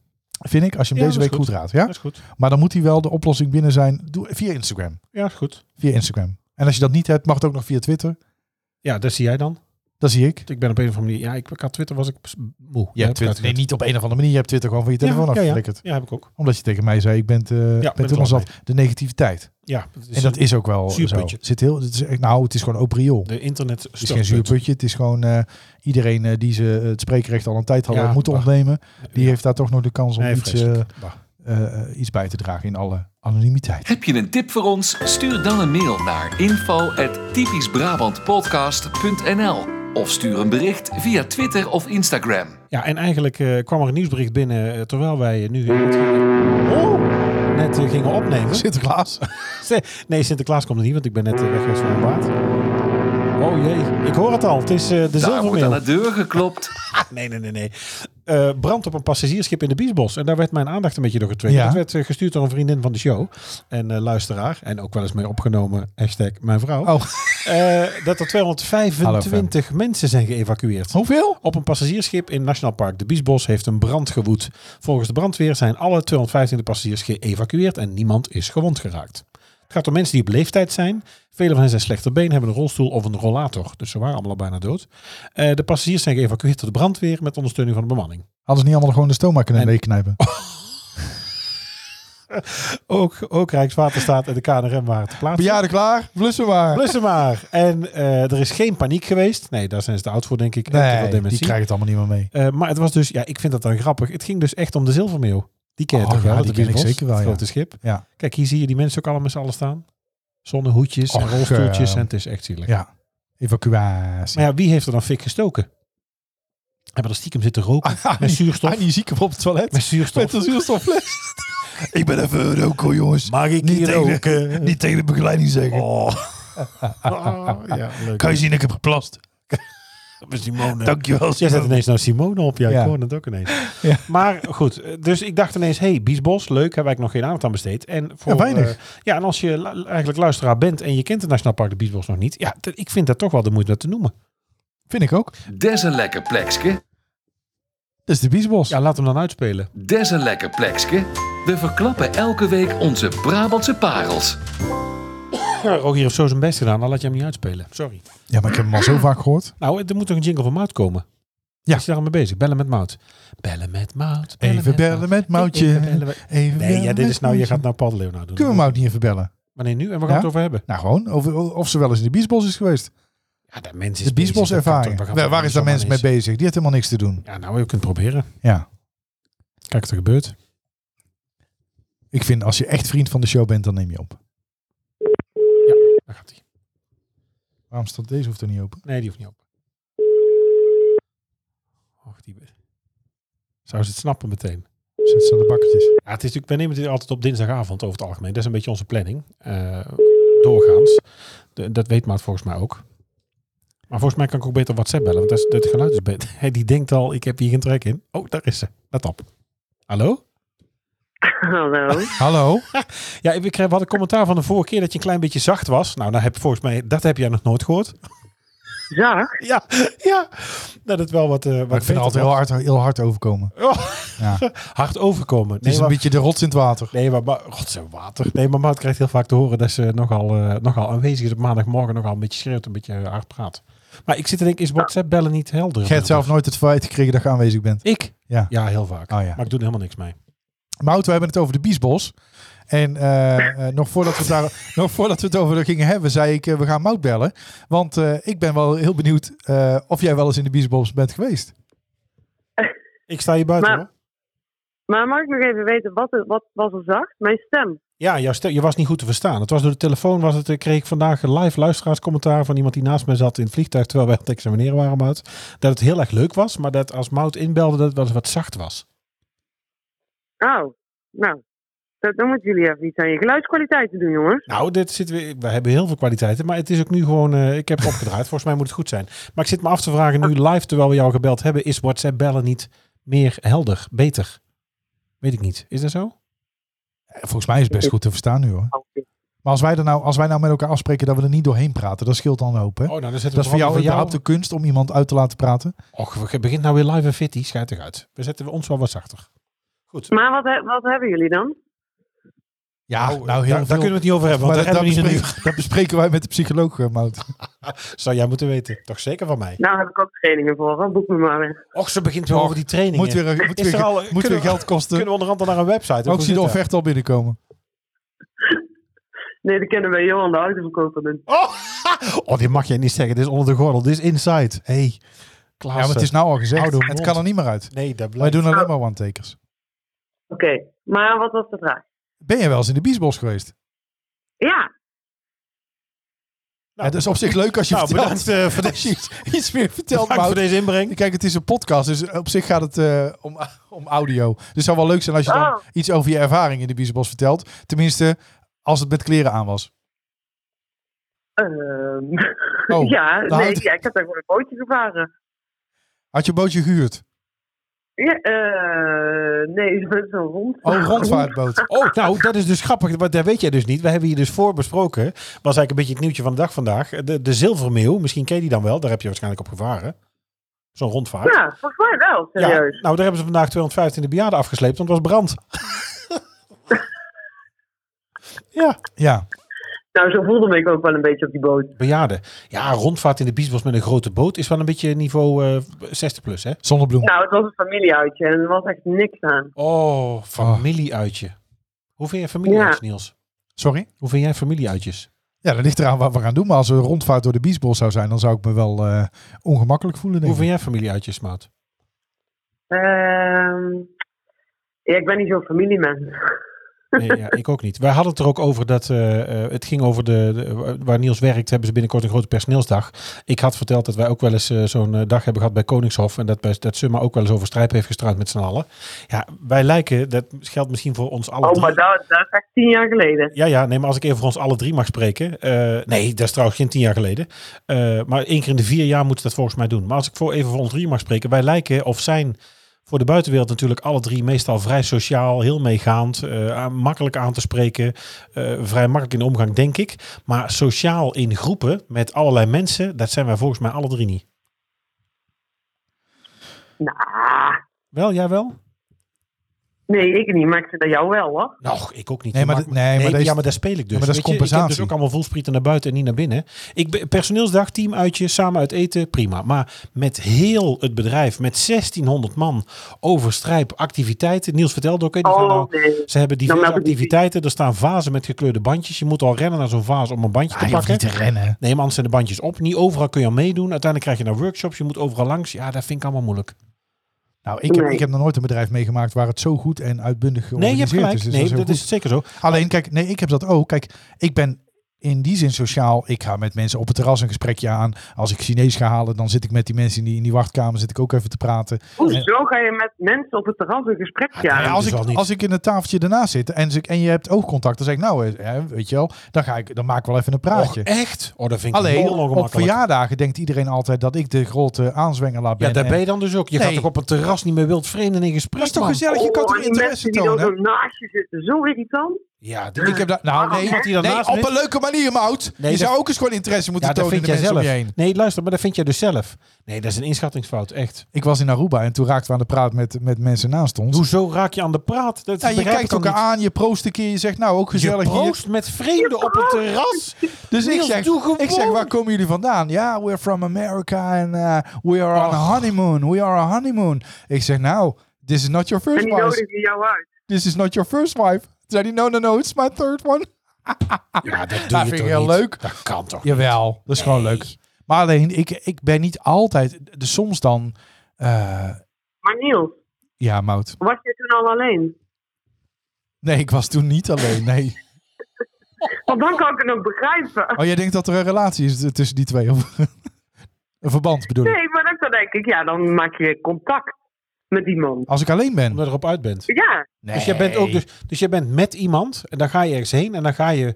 Speaker 3: Vind ik, als je hem
Speaker 2: Ja,
Speaker 3: deze
Speaker 2: dat
Speaker 3: week
Speaker 2: is
Speaker 3: goed raadt. Ja?
Speaker 2: Dat is goed.
Speaker 3: Maar dan moet hij wel de oplossing binnen zijn doe, via Instagram.
Speaker 2: Ja, dat is goed.
Speaker 3: Via Instagram. En als je dat niet hebt, mag het ook nog via Twitter.
Speaker 2: Ja, dat zie jij dan.
Speaker 3: Dat zie ik.
Speaker 2: Ik ben op een of andere manier... Ja, ik, ik had Twitter, was ik pss, moe.
Speaker 3: Je hebt Twitter, nee, niet op een of andere manier. Je hebt Twitter gewoon van je telefoon
Speaker 2: ja, ja, ja.
Speaker 3: afgeflikkerd.
Speaker 2: ja, heb ik ook.
Speaker 3: Omdat je tegen mij zei, ik ben, eh
Speaker 2: ben
Speaker 3: ben
Speaker 2: het
Speaker 3: toen al
Speaker 2: wel
Speaker 3: zat. De negativiteit.
Speaker 2: Ja, het is
Speaker 3: en dat is ook wel zo.
Speaker 2: Dus zuurputje.
Speaker 3: Zit heel, het is, echt- nou, het is gewoon open riool. Het
Speaker 2: de internet
Speaker 3: is geen zuurputje. Het is gewoon eh, iedereen eh, die ze het spreekrecht al een tijd hadden
Speaker 2: Ja,
Speaker 3: moeten
Speaker 2: bah.
Speaker 3: ontnemen. Die heeft daar toch nog de kans om
Speaker 2: Nee,
Speaker 3: iets
Speaker 2: vreselijk. Bah.
Speaker 3: eh, eh, eh, iets bij te dragen in alle
Speaker 2: (laughs)
Speaker 3: anonimiteit.
Speaker 1: Heb je een tip voor ons? Stuur dan een mail naar info@typischbrabantpodcast.nl of stuur een bericht via Twitter of Instagram.
Speaker 2: Ja, en eigenlijk eh, kwam er een nieuwsbericht binnen eh, terwijl wij eh, nu net, net eh, gingen opnemen.
Speaker 3: Sinterklaas.
Speaker 2: Nee, Sinterklaas komt er niet, want ik ben net eh, weg geweest van mijn baard. Oh jee, ik hoor het al. Het is eh, de
Speaker 1: Daar wordt aan
Speaker 2: zilvermeel.
Speaker 1: de deur geklopt.
Speaker 2: Nee, nee, nee, nee. Eh, brand op een passagiersschip in de Biesbos. En daar werd mijn aandacht een beetje door getriggerd.
Speaker 3: Ja.
Speaker 2: Dat werd eh, gestuurd door een vriendin van de show. En eh, luisteraar. En ook wel eens mee opgenomen. Hashtag mijn vrouw.
Speaker 3: Oh,
Speaker 2: Eh, dat er 225 mensen zijn geëvacueerd.
Speaker 3: hoeveel?
Speaker 2: Op een passagiersschip in Nationaal Park de Biesbos heeft een brand gewoed. Volgens de brandweer zijn alle 225 passagiers geëvacueerd en niemand is gewond geraakt. Het gaat om mensen die op leeftijd zijn. Velen van hen zijn slechter been, hebben een rolstoel of een rollator. Dus ze waren allemaal al bijna dood. Eh, de passagiers zijn geëvacueerd door de brandweer met ondersteuning van de bemanning.
Speaker 3: Hadden ze niet allemaal gewoon de stoma kunnen
Speaker 2: En- Oh,
Speaker 3: meeknijpen?
Speaker 2: Ook, ook Rijkswaterstaat en de KNRM waren te plaatsen.
Speaker 3: Bejaarden klaar, blussen maar.
Speaker 2: Blussen maar. En eh, er is geen paniek geweest. Nee, daar zijn ze te oud voor, denk ik. En te veel
Speaker 3: Nee, die
Speaker 2: dementie.
Speaker 3: krijgen het allemaal niet meer mee.
Speaker 2: Eh, maar het was dus, ja, ik vind dat dan grappig. Het ging dus echt om de zilvermeeuw. Die ken je
Speaker 3: Oh,
Speaker 2: toch
Speaker 3: ja,
Speaker 2: wel?
Speaker 3: die
Speaker 2: de
Speaker 3: ken ik
Speaker 2: Biesbos,
Speaker 3: zeker wel,
Speaker 2: Het
Speaker 3: ja.
Speaker 2: grote schip.
Speaker 3: Ja.
Speaker 2: Kijk, hier zie je die mensen ook allemaal met z'n allen staan. Zonnehoedjes en
Speaker 3: Och,
Speaker 2: rolstoeltjes.
Speaker 3: eh,
Speaker 2: en het is echt zielig.
Speaker 3: ja. Evacuatie.
Speaker 2: Maar ja, wie heeft er dan fik gestoken? Hebben er stiekem zitten roken
Speaker 3: Annie-
Speaker 2: met zuurstof.
Speaker 3: Annie ziek op het toilet.
Speaker 2: Met zuurstof.
Speaker 3: Ah, Met een zuurstoffles. ik ben even roken, jongens.
Speaker 2: Mag ik
Speaker 3: Niet
Speaker 2: hier
Speaker 3: tegen-
Speaker 2: roken?
Speaker 3: Niet tegen de begeleiding zeggen.
Speaker 2: Oh, ja, leuk.
Speaker 3: Kan je zien, ik heb geplast.
Speaker 2: Simone.
Speaker 3: Dankjewel.
Speaker 2: Jij zet ineens nou Simone op. Ja,
Speaker 3: Ja.
Speaker 2: ik hoorde het ook ineens.
Speaker 3: (laughs) Ja.
Speaker 2: Maar goed, dus ik dacht ineens... hey, Biesbos, leuk, hebben wij nog geen aandacht aan besteed. En voor,
Speaker 3: Ja, weinig.
Speaker 2: eh, ja, en als je lu- eigenlijk luisteraar bent... en je kent het Nationaal Park de Biesbos nog niet... ja, dat- ik vind dat toch wel de moeite om te noemen.
Speaker 3: Vind ik ook.
Speaker 1: Des een lekker plekske.
Speaker 3: Dat is de Biesbos.
Speaker 2: Ja, laat hem dan uitspelen.
Speaker 1: Des een lekker plekske. We verklappen elke week onze Brabantse parels.
Speaker 2: Rogier heeft zo zijn best gedaan, dan laat je hem niet uitspelen. Sorry.
Speaker 3: Ja, maar ik heb hem al zo vaak gehoord.
Speaker 2: Nou, er moet toch een jingle van Mout komen?
Speaker 3: Ja.
Speaker 2: Is je daarmee bezig? Bellen met Mout. Bellen met Mout.
Speaker 3: Even
Speaker 2: met
Speaker 3: bellen met Moutje.
Speaker 2: Even bellen met-
Speaker 3: Even
Speaker 2: Nee,
Speaker 3: bellen
Speaker 2: ja, dit
Speaker 3: met
Speaker 2: is nou, je
Speaker 3: Moutje.
Speaker 2: gaat nou Paddeleeuw nou doen.
Speaker 3: Kunnen we Mout niet even bellen?
Speaker 2: Wanneer nu? En waar gaan we
Speaker 3: Ja?
Speaker 2: het over hebben?
Speaker 3: Nou, gewoon. Of, of ze wel eens in de Biesbos is geweest.
Speaker 2: Ja, dat mens is
Speaker 3: De Biesbos
Speaker 2: bezig, dat kan
Speaker 3: ervaring.
Speaker 2: toch- dat kan
Speaker 3: Waar,
Speaker 2: toch
Speaker 3: waar is
Speaker 2: niet
Speaker 3: daar
Speaker 2: zomaar
Speaker 3: mensen mee
Speaker 2: ineens-
Speaker 3: bezig? Die heeft helemaal niks te doen.
Speaker 2: Ja, nou, je kunt het proberen.
Speaker 3: Ja.
Speaker 2: Kijk wat er gebeurt.
Speaker 3: Ik vind, als je echt vriend van de show bent, dan neem je op.
Speaker 2: Daar gaat hij.
Speaker 3: Waarom staat deze hoeft er niet open?
Speaker 2: Nee, die hoeft niet op. Och, die... Zou ze het snappen meteen?
Speaker 3: Zet ze aan de bakkertjes.
Speaker 2: Ja, het is natuurlijk, wij nemen dit altijd op dinsdagavond over het algemeen. Dat is een beetje onze planning. eh, doorgaans. De- dat weet Maat volgens mij ook. Maar volgens mij kan ik ook beter WhatsApp bellen, want dat, is, dat geluid is beter. (laughs) Hey, die denkt al, ik heb hier geen trek in. Oh, daar is ze. Let op. Hallo?
Speaker 4: Hallo.
Speaker 3: Hallo?
Speaker 2: Ja, ik kreeg wat een commentaar van de vorige keer dat je een klein beetje zacht was. Nou, nou heb, volgens mij, dat heb jij nog nooit gehoord.
Speaker 4: Zag?
Speaker 2: Ja, ja. Dat het wel wat. eh wat
Speaker 3: Maar ik vind het altijd heel hard, heel hard overkomen.
Speaker 2: Oh.
Speaker 3: Ja.
Speaker 2: hard overkomen.
Speaker 3: Het is
Speaker 2: Nee,
Speaker 3: een
Speaker 2: maar,
Speaker 3: beetje de rots in het water.
Speaker 2: nee, maar, maar God, zijn water. Nee, maar Maud krijgt heel vaak te horen dat ze nogal, eh, nogal aanwezig is op maandagmorgen. Nogal een beetje schreeuwt, een beetje eh, hard praat. Maar ik zit te denken, is WhatsApp bellen niet helder?
Speaker 3: Gij hebt zelf nooit het feit gekregen dat je aanwezig bent.
Speaker 2: Ik?
Speaker 3: Ja.
Speaker 2: Ja, heel vaak.
Speaker 3: Oh ja.
Speaker 2: Maar ik doe er helemaal niks mee.
Speaker 3: Mout, we hebben het over de Biesbos. En eh, eh, nog, voordat we het
Speaker 2: (laughs)
Speaker 3: daar, nog voordat we het over gingen hebben, zei ik, eh, we gaan Mout bellen. Want eh, ik ben wel heel benieuwd eh, of jij wel eens in de Biesbos bent geweest.
Speaker 2: Ik sta hier buiten
Speaker 4: Maar-
Speaker 2: hoor.
Speaker 4: Maar mag ik nog even weten, wat, wat was er zacht? Mijn stem.
Speaker 2: Ja, jouw stem, je was niet goed te verstaan. Het was door de telefoon, was het, eh, kreeg ik vandaag een live luisteraarscommentaar van iemand die naast mij zat in het vliegtuig terwijl wij aan het examineren waren, Mout. Dat het heel erg leuk was, maar dat als Mout inbelde, dat het wel eens wat zacht was.
Speaker 4: Oh, nou. Dat, dan moeten jullie even iets aan je geluidskwaliteit doen, jongens.
Speaker 2: Nou, dit zit weer, we hebben heel veel kwaliteiten, maar het is ook nu gewoon, eh, ik heb het opgedraaid. Volgens mij moet het goed zijn. Maar ik zit me af te vragen nu live, terwijl we jou gebeld hebben, is WhatsApp bellen niet meer helder, beter? Weet ik niet. Is dat zo?
Speaker 3: Eh, Volgens mij is het best goed te verstaan nu hoor. Maar als wij, er nou, als wij nou met elkaar afspreken dat we er niet doorheen praten, dat scheelt dan een hoop. Hè?
Speaker 2: Oh, nou, dan zetten we
Speaker 3: dat is voor jou überhaupt
Speaker 2: überhaupt
Speaker 3: de kunst om iemand uit te laten praten.
Speaker 2: Och, je begint nou weer live en fitty, schijt eruit. We zetten we ons wel wat zachter. Goed.
Speaker 4: Maar wat, he- wat hebben jullie dan?
Speaker 3: Ja,
Speaker 2: Oh, daar, daar kunnen we het niet over hebben,
Speaker 3: maar
Speaker 2: want
Speaker 3: dat,
Speaker 2: daar
Speaker 3: dat,
Speaker 2: hebben we niet in
Speaker 3: bespreken, dat bespreken wij met de psycholoog, eh, Mout.
Speaker 2: de- Zou jij moeten weten. Toch zeker van mij.
Speaker 4: Nou heb ik ook trainingen voor, hè? boek me maar weer.
Speaker 2: Och, ze begint weer
Speaker 3: Och,
Speaker 2: over die trainingen.
Speaker 3: Moet weer, moet
Speaker 2: Is
Speaker 3: weer,
Speaker 2: er al-
Speaker 3: moet
Speaker 2: kunnen
Speaker 3: weer
Speaker 2: we-
Speaker 3: geld kosten.
Speaker 2: Kunnen we onderhand al naar een website?
Speaker 3: Ook zie de offerte al binnenkomen.
Speaker 4: Nee, dat kennen wij Johan de autoverkoper. dus. doen.
Speaker 2: Oh, (laughs) oh, dit mag je niet zeggen. Dit is onder de gordel. Dit is inside. hey, Klaas.
Speaker 3: Ja, maar het is nou al gezegd.
Speaker 2: Oude
Speaker 3: Het
Speaker 2: mond.
Speaker 3: kan er niet meer uit.
Speaker 2: Nee, dat
Speaker 3: Wij
Speaker 2: blijft.
Speaker 3: doen alleen maar one-takers.
Speaker 4: Oké, Maar wat was de vraag?
Speaker 3: Ben je wel eens in de Biesbos geweest?
Speaker 4: Ja,
Speaker 3: Ja, dat is op
Speaker 2: (laughs)
Speaker 3: zich leuk als je
Speaker 2: Nou,
Speaker 3: vertelt.
Speaker 2: bedankt eh, voor, de,
Speaker 3: (laughs) Als je iets, iets meer vertelt,
Speaker 2: bedankt voor
Speaker 3: Mout.
Speaker 2: deze inbreng.
Speaker 3: Kijk, het is een podcast, dus op zich gaat het eh, om, (laughs) om audio. Dus het zou wel leuk zijn als je dan
Speaker 4: Oh.
Speaker 2: Ah.
Speaker 3: iets over je ervaring in de Biesbos vertelt. Tenminste, als het met kleren aan was.
Speaker 4: ehm,
Speaker 3: Oh,
Speaker 4: (laughs) ja,
Speaker 3: nou,
Speaker 4: nee,
Speaker 3: het-
Speaker 4: ja, ik heb daar gewoon een bootje gevaren.
Speaker 3: Had je een bootje gehuurd?
Speaker 4: Ja, eh, nee, (laughs) het is een rond.
Speaker 3: Oh, een rondvaartboot.
Speaker 2: Oh, nou, dat is dus grappig. Want dat weet jij dus niet. We hebben hier dus voor besproken. Was eigenlijk een beetje het nieuwtje van de dag vandaag. De, de zilvermeeuw, misschien ken je die dan wel. Daar heb je waarschijnlijk op gevaren. Zo'n rondvaart.
Speaker 4: Ja, volgens mij wel, serieus.
Speaker 2: nou, daar hebben ze vandaag 225 bejaarden afgesleept, want het was brand. ja,
Speaker 3: Ja.
Speaker 4: Nou, zo voelde ik me ook wel een beetje op die boot.
Speaker 2: bejaarden. Ja, rondvaart in de biesbos met een grote boot is wel een beetje niveau eh 60 plus, hè?
Speaker 3: Zonnebloem.
Speaker 4: Nou, het was een familieuitje en er was echt niks aan.
Speaker 2: Oh, familieuitje. Hoe vind jij familieuitjes, Niels?
Speaker 3: Sorry?
Speaker 2: Hoe vind jij familieuitjes?
Speaker 3: Ja, dat ligt eraan wat we gaan doen. Maar als er een rondvaart door de Biesbos zou zijn, dan zou ik me wel eh, ongemakkelijk voelen. Denk
Speaker 2: Hoe
Speaker 3: ik.
Speaker 2: vind jij familieuitjes, maat?
Speaker 4: Ehm, ja, ik ben niet zo'n familiemens.
Speaker 2: Nee, ja, ik ook niet. Wij hadden het er ook over dat eh, eh, het ging over de, de- waar Niels werkt, hebben ze binnenkort een grote personeelsdag. Ik had verteld dat wij ook wel eens eh, zo'n eh, dag hebben gehad bij Koningshof en dat, bij, dat Summa ook wel eens over strijp heeft gestruind met z'n allen. Ja, wij lijken, dat geldt misschien voor ons allen.
Speaker 4: Oh,
Speaker 2: drie.
Speaker 4: maar dat, dat is echt tien jaar geleden.
Speaker 2: Ja, ja, nee, maar als ik even voor ons alle drie mag spreken. eh, nee, dat is trouwens geen tien jaar geleden. Eh, maar één keer in de vier jaar moeten ze dat volgens mij doen. Maar als ik voor even voor ons drie mag spreken. Wij lijken of zijn voor de buitenwereld natuurlijk alle drie meestal vrij sociaal, heel meegaand. eh, aan- makkelijk aan te spreken. eh, vrij makkelijk in de omgang, denk ik. Maar sociaal in groepen met allerlei mensen, dat zijn wij volgens mij alle drie niet.
Speaker 4: Nou,
Speaker 2: Wel, jij wel?
Speaker 4: nee, ik niet, maar ik vind dat jou wel, hoor.
Speaker 2: Nou, ik ook niet.
Speaker 3: Nee, maar
Speaker 2: Je
Speaker 3: dat-
Speaker 2: maakt me-
Speaker 3: nee, maar dat is-
Speaker 2: ja, maar daar speel ik dus.
Speaker 3: Ja, maar dat is
Speaker 2: Weet je, Ik heb dus
Speaker 3: compensatie.
Speaker 2: ook allemaal voelsprieten naar buiten en niet naar binnen. Ik ben, personeelsdag, teamuitje, samen uit eten, prima. Maar met heel het bedrijf, met 1600 man over strijp activiteiten. Niels vertelde ook, hè, die gaan nou-
Speaker 4: Oh, nee.
Speaker 2: ze hebben diverse
Speaker 4: melden die-
Speaker 2: activiteiten. Er staan vazen met gekleurde bandjes. Je moet al rennen naar zo'n vaas om een bandje
Speaker 3: Ah,
Speaker 2: te
Speaker 3: je hoeft
Speaker 2: pakken.
Speaker 3: niet te rennen.
Speaker 2: Nee, maar anders zijn de bandjes op. Niet overal kun je aan meedoen. Uiteindelijk krijg je nou workshops. Je moet overal langs. Ja, dat vind ik allemaal moeilijk.
Speaker 3: Nou, ik heb,
Speaker 4: Nee.
Speaker 3: ik heb nog nooit een bedrijf meegemaakt waar het zo goed en
Speaker 2: Nee,
Speaker 3: uitbundig
Speaker 2: je
Speaker 3: georganiseerd
Speaker 2: hebt gelijk.
Speaker 3: is. Dus
Speaker 2: nee,
Speaker 3: is heel
Speaker 2: dat
Speaker 3: goed.
Speaker 2: is zeker zo.
Speaker 3: Alleen, kijk, nee, ik heb dat ook. Kijk, ik ben in die zin sociaal. Ik ga met mensen op het terras een gesprekje aan. Als ik Chinees ga halen, dan zit ik met die mensen in die, in die wachtkamer. Zit ik ook even te praten.
Speaker 4: Hoezo ga je met mensen op het terras een gesprek
Speaker 2: nee,
Speaker 4: aan?
Speaker 3: Ja, als,
Speaker 2: dus
Speaker 3: ik,
Speaker 2: wel niet.
Speaker 3: als ik in het tafeltje ernaast zit en, ze- en je hebt oogcontact, dan zeg ik nou, eh, hè, weet je wel, dan, ga ik, dan maak ik wel even een
Speaker 2: Och,
Speaker 3: praatje.
Speaker 2: echt? Oh, dat vind ik
Speaker 3: Alleen
Speaker 2: heel
Speaker 3: op
Speaker 2: ongemakkelijk.
Speaker 3: verjaardagen denkt iedereen altijd dat ik de grote aanzwengelaar ben.
Speaker 2: Ja, daar
Speaker 3: En-
Speaker 2: ben je dan dus ook. Je
Speaker 3: Nee.
Speaker 2: gaat toch op een terras niet meer wild vreemden in gesprek,
Speaker 3: dat is toch
Speaker 2: man?
Speaker 3: gezellig? Je kan
Speaker 4: Oh,
Speaker 3: toch
Speaker 4: die
Speaker 3: interesse
Speaker 4: mensen die dan
Speaker 3: tonen?
Speaker 4: zo naast je zitten, zo irritant.
Speaker 2: Ja, dit-
Speaker 3: Ik heb dat, nou, nee,
Speaker 2: Iemand die daarnaast
Speaker 3: nee, op
Speaker 2: zit?
Speaker 3: een leuke manier, Mout.
Speaker 2: Nee,
Speaker 3: je
Speaker 2: dat-
Speaker 3: zou ook eens gewoon interesse moeten
Speaker 2: ja, dat
Speaker 3: tonen in
Speaker 2: vind
Speaker 3: de
Speaker 2: jij
Speaker 3: mensen om
Speaker 2: zelf.
Speaker 3: je heen.
Speaker 2: Nee, luister, maar dat vind jij dus zelf. Nee, dat is een inschattingsfout, echt.
Speaker 3: Ik was in Aruba en toen raakten we aan de praat met, met mensen naast ons.
Speaker 2: Hoezo raak je aan de praat? Dat
Speaker 3: Ja, je
Speaker 2: begrijp ik
Speaker 3: kijkt
Speaker 2: dan
Speaker 3: elkaar
Speaker 2: niet.
Speaker 3: aan, je proost een keer, je zegt nou ook gezellig
Speaker 2: Je
Speaker 3: hier.
Speaker 2: proost met vreemden op het terras.
Speaker 3: Dus ik
Speaker 2: Niels,
Speaker 3: zeg,
Speaker 2: doe gewoon.
Speaker 3: ik zeg, waar komen jullie vandaan? Ja, we're from America and eh, we are on a honeymoon. We are on a honeymoon. Ik zeg, nou, this is not your
Speaker 4: En
Speaker 3: first
Speaker 4: die
Speaker 3: wife.
Speaker 4: nodigen jou uit.
Speaker 3: This is not your first wife. Zei hij, no, no, no, it's my third one.
Speaker 2: Ja, dat doe
Speaker 3: Dat
Speaker 2: je
Speaker 3: vind
Speaker 2: toch
Speaker 3: ik heel
Speaker 2: niet?
Speaker 3: leuk.
Speaker 2: Dat kan toch
Speaker 3: Jawel, dat is gewoon leuk. Maar alleen, ik, ik ben niet altijd, dus soms dan, eh,
Speaker 4: Maar Niels,
Speaker 3: ja, Mout.
Speaker 4: was je toen al alleen?
Speaker 3: Nee, ik was toen niet alleen, nee.
Speaker 4: Want dan kan ik het nog begrijpen.
Speaker 3: Oh, jij denkt dat er een relatie is t- tussen die twee? Of een verband bedoel ik?
Speaker 4: Nee, maar dan- dan denk ik, ja, dan maak je contact met die man.
Speaker 3: Als ik alleen ben?
Speaker 2: Omdat je erop uit bent.
Speaker 4: Ja,
Speaker 3: Nee.
Speaker 2: Dus, jij bent ook dus, dus jij bent met iemand en dan ga je ergens heen en dan ga je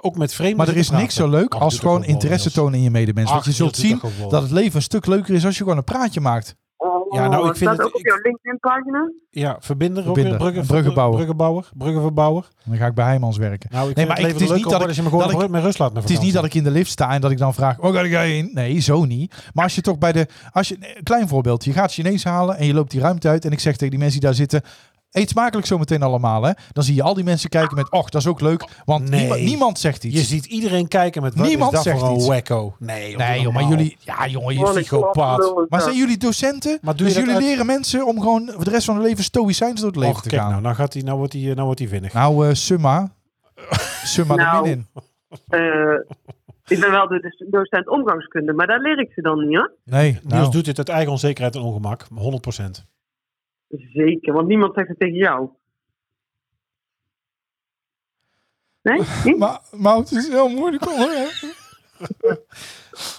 Speaker 2: ook met vreemden
Speaker 3: Maar er is
Speaker 2: zitten
Speaker 3: niks zo
Speaker 2: praten.
Speaker 3: leuk
Speaker 2: Ach,
Speaker 3: als
Speaker 2: doe
Speaker 3: gewoon
Speaker 2: toch ook wel,
Speaker 3: interesse
Speaker 2: Niels.
Speaker 3: tonen in je medemens.
Speaker 2: Ach,
Speaker 3: Want je
Speaker 2: Niels,
Speaker 3: zult
Speaker 2: doe
Speaker 3: zien
Speaker 2: toch gewoon.
Speaker 3: dat het leven een stuk leuker is als je gewoon een praatje maakt.
Speaker 4: oh,
Speaker 2: Ja, nou, ik vind
Speaker 4: staat
Speaker 2: het-
Speaker 4: ook op
Speaker 2: ik-
Speaker 4: jouw LinkedIn-pagina?
Speaker 2: Ja, verbinder,
Speaker 3: Verbinder.
Speaker 2: ook weer. Bruggen,
Speaker 3: Een bruggenbouwer.
Speaker 2: Bruggenbouwer. Bruggenverbouwer.
Speaker 3: Dan ga ik bij Heijmans werken.
Speaker 2: Nou, ik nee,
Speaker 3: Nee, maar
Speaker 2: maar
Speaker 3: ik-
Speaker 2: het
Speaker 3: het is
Speaker 2: leven
Speaker 3: niet
Speaker 2: niet
Speaker 3: dat
Speaker 2: dat
Speaker 3: ik-
Speaker 2: als je me gewoon
Speaker 3: dat ik-
Speaker 2: met met rust laat.
Speaker 3: Het is niet dat ik in de lift sta en dat ik dan vraag, oh, ga ik heen? Nee, zo niet. Maar als je toch bij de... Als je, nee, klein voorbeeld. Je gaat Chinees halen en je loopt die ruimte uit. En ik zeg tegen die mensen die daar zitten, eet smakelijk zometeen allemaal. Hè? Dan zie je al die mensen kijken met, och, dat is ook leuk. Want
Speaker 2: Nee.
Speaker 3: niemand, niemand zegt iets.
Speaker 2: Je ziet iedereen kijken met wat
Speaker 3: Niemand
Speaker 2: is dat
Speaker 3: zegt
Speaker 2: voor
Speaker 3: iets.
Speaker 2: een wacko. Nee, joh,
Speaker 3: nee, joh, maar jullie... Ja, jongen, je
Speaker 4: Oh, ik
Speaker 2: psychopaat.
Speaker 4: geloof het
Speaker 3: Maar
Speaker 4: wel.
Speaker 3: zijn jullie docenten?
Speaker 2: Maar doe
Speaker 3: dus
Speaker 2: je dat
Speaker 3: jullie
Speaker 2: uit-
Speaker 3: leren mensen om gewoon voor de rest van hun leven stoïcijns door het leven
Speaker 2: Och,
Speaker 3: te
Speaker 2: kijk
Speaker 3: gaan.
Speaker 2: nou, nou, gaat hij, nou wordt hij nou wordt hij vinnig.
Speaker 3: Nou, eh, summa. Summa
Speaker 4: Nou.
Speaker 3: de min in.
Speaker 4: Eh, ik ben wel de doc- docent omgangskunde, maar daar leer ik ze dan niet, hoor.
Speaker 3: Nee,
Speaker 2: Niels
Speaker 3: nou.
Speaker 2: doet dit uit eigen onzekerheid en ongemak, 100%.
Speaker 4: Zeker, want niemand zegt het tegen jou. Nee? Niet?
Speaker 3: Maar, maar het is heel moeilijk hoor. hè?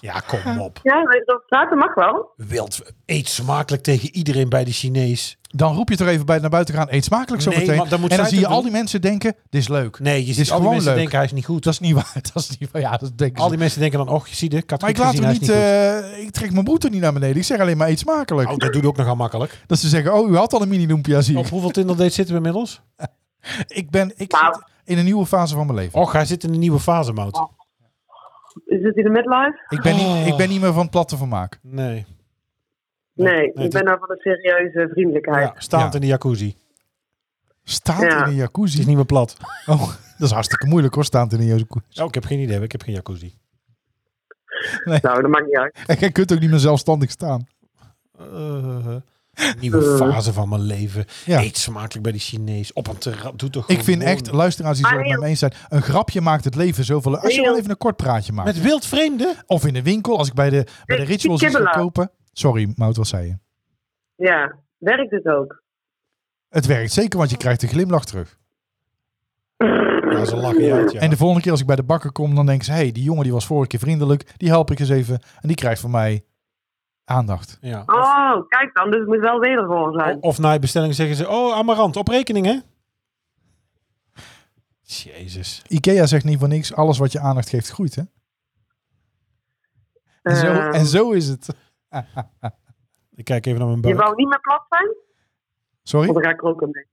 Speaker 2: Ja, kom op.
Speaker 4: Ja, maar op straat dat mag wel.
Speaker 2: Wild. Eet smakelijk tegen iedereen bij de Chinees.
Speaker 3: Dan roep je toch even bij naar buiten gaan. Eet smakelijk zo
Speaker 2: Nee,
Speaker 3: meteen.
Speaker 2: want dan moet
Speaker 3: en dan
Speaker 2: zij
Speaker 3: zie je
Speaker 2: het
Speaker 3: al
Speaker 2: doen.
Speaker 3: die mensen denken, dit is leuk.
Speaker 2: Nee, je
Speaker 3: is
Speaker 2: ziet al die
Speaker 3: gewoon
Speaker 2: mensen
Speaker 3: leuk.
Speaker 2: denken hij is niet goed.
Speaker 3: Dat is niet waar. (laughs) Dat is niet waar. Ja, dat denken
Speaker 2: Al
Speaker 3: ze.
Speaker 2: die mensen denken dan, och, zie je, ik had
Speaker 3: Maar ik
Speaker 2: goed
Speaker 3: laat
Speaker 2: gezien,
Speaker 3: me
Speaker 2: hij is
Speaker 3: niet,
Speaker 2: goed.
Speaker 3: eh, ik trek mijn broeder niet naar beneden. Ik zeg alleen maar eet smakelijk.
Speaker 2: Oh, dat doet ook nogal
Speaker 3: (laughs)
Speaker 2: makkelijk.
Speaker 3: Dat ze zeggen, oh, u had al een mini-noempia, zie
Speaker 2: Op
Speaker 3: ik.
Speaker 2: hoeveel Tinder dates zitten we inmiddels?
Speaker 3: Ik ben ik
Speaker 4: Nou.
Speaker 3: zit in een nieuwe fase van mijn leven.
Speaker 2: Och, hij zit in een nieuwe fase, Mout.
Speaker 4: Is het in de midlife?
Speaker 3: Ik ben,
Speaker 2: Oh.
Speaker 3: niet, ik ben niet meer van het platte vermaak.
Speaker 2: Nee.
Speaker 4: Nee,
Speaker 2: nee,
Speaker 4: ik ben nou van de serieuze vriendelijkheid.
Speaker 2: Ja, staand
Speaker 3: Ja.
Speaker 2: in de jacuzzi.
Speaker 3: Staat
Speaker 4: Ja.
Speaker 3: in een
Speaker 2: Die is
Speaker 3: jacuzzi.
Speaker 2: niet meer plat.
Speaker 3: Oh, (laughs) dat is hartstikke moeilijk hoor, staand in een jacuzzi.
Speaker 2: Oh, ik heb geen idee. Ik heb geen jacuzzi.
Speaker 4: Nou, dat maakt niet uit.
Speaker 3: En jij kunt ook niet meer zelfstandig staan.
Speaker 2: Eh, nieuwe
Speaker 4: Eh.
Speaker 2: fase van mijn leven.
Speaker 3: Ja.
Speaker 2: Eet smakelijk bij de Chinees. Op een terras. Doe toch
Speaker 3: Ik vind
Speaker 2: gewoon.
Speaker 3: echt, luisteraars die zo
Speaker 4: Maar
Speaker 3: met me eens zijn, een grapje maakt het leven zoveel leuk. Als je
Speaker 4: Heel-
Speaker 3: wel even een kort praatje maakt.
Speaker 2: Met wildvreemden?
Speaker 3: Of in de winkel, als ik bij de, bij de
Speaker 4: Ik-
Speaker 3: rituals
Speaker 4: ik
Speaker 3: iets ga
Speaker 4: kibbelaar.
Speaker 3: kopen. Sorry, Mout, wat zei je?
Speaker 4: Ja, werkt het ook.
Speaker 3: Het werkt zeker, want je krijgt een glimlach terug.
Speaker 2: Ja, ze lachen je uit, ja.
Speaker 3: En de volgende keer als ik bij de bakker kom, dan denken ze... hé, hey, die jongen die was vorige keer vriendelijk, die help ik eens even. En die krijgt van mij aandacht.
Speaker 2: ja. Of,
Speaker 4: Oh, kijk dan, dus het moet wel wederhoor zijn.
Speaker 2: of na je bestelling zeggen ze, oh, Amarant, op rekening, hè? Jezus.
Speaker 3: Ikea zegt niet voor niks, alles wat je aandacht geeft groeit, hè? En zo,
Speaker 4: Eh,
Speaker 3: en zo is het.
Speaker 2: Ik kijk even naar mijn
Speaker 4: Eh, Je
Speaker 2: buik.
Speaker 4: wou niet meer plat zijn?
Speaker 3: Sorry?
Speaker 4: Oh, dan ga ik er ook aan mee.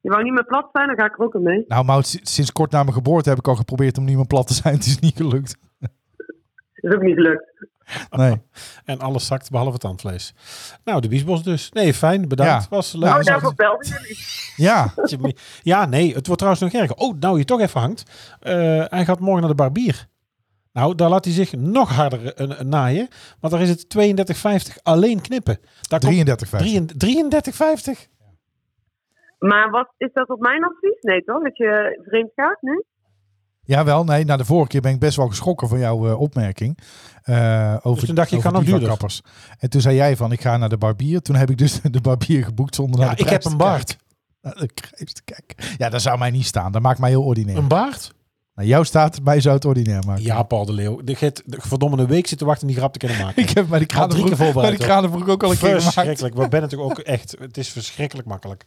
Speaker 4: Je wou niet meer plat zijn, dan ga ik er ook aan mee.
Speaker 3: Nou, Mout, si- sinds kort na mijn geboorte heb ik al geprobeerd om niet meer plat te zijn. (laughs) Het is niet gelukt.
Speaker 4: Dat is ook niet gelukt.
Speaker 3: Nee.
Speaker 2: En alles zakt behalve tandvlees. Nou, de biesbos dus. Nee, fijn. Bedankt.
Speaker 3: Ja.
Speaker 2: Was
Speaker 3: Nou,
Speaker 2: leuk.
Speaker 4: Oh, daarvoor belden jullie.
Speaker 3: Ja,
Speaker 2: Dat je me- Ja, nee, het wordt trouwens nog erger. Oh, nou je toch even hangt. Eh, hij gaat morgen naar de barbier. Nou, daar laat hij zich nog harder eh, eh, naaien. Want daar is het 32,50 alleen knippen. Daar
Speaker 3: 33
Speaker 2: komt 33,50.
Speaker 4: Maar wat is dat op mijn advies? Nee toch? Dat je vreemd gaat nu?
Speaker 3: Jawel, nee, na de vorige keer ben ik best wel geschrokken van jouw eh, opmerking. eh, over,
Speaker 2: Dus toen dacht je, ik
Speaker 3: over
Speaker 2: ga nog
Speaker 3: diva
Speaker 2: duurder.
Speaker 3: kappers. En toen zei jij van, ik ga naar de barbier. Toen heb ik dus (laughs) de barbier geboekt zonder naar
Speaker 2: Ja,
Speaker 3: de
Speaker 2: ik
Speaker 3: prijs
Speaker 2: heb een
Speaker 3: te
Speaker 2: baard.
Speaker 3: kijken. (laughs) Naar de prijs te kijken. Ja, dat zou mij niet staan. Dat maakt mij heel ordinair.
Speaker 2: Een baard?
Speaker 3: Nou, jou staat, mij zou het ordinair maken.
Speaker 2: Ja, Paul de Leeuw. De git de verdomme een week zitten wachten om die grap te kunnen maken.
Speaker 3: (laughs) (laughs) Ik heb bij de
Speaker 2: drie keer
Speaker 3: kranenbroek, bij de
Speaker 2: voorbereid, hoor.
Speaker 3: kranenbroek ook al een keer gemaakt.
Speaker 2: Verschrikkelijk. We ben het ook echt. Het is verschrikkelijk makkelijk.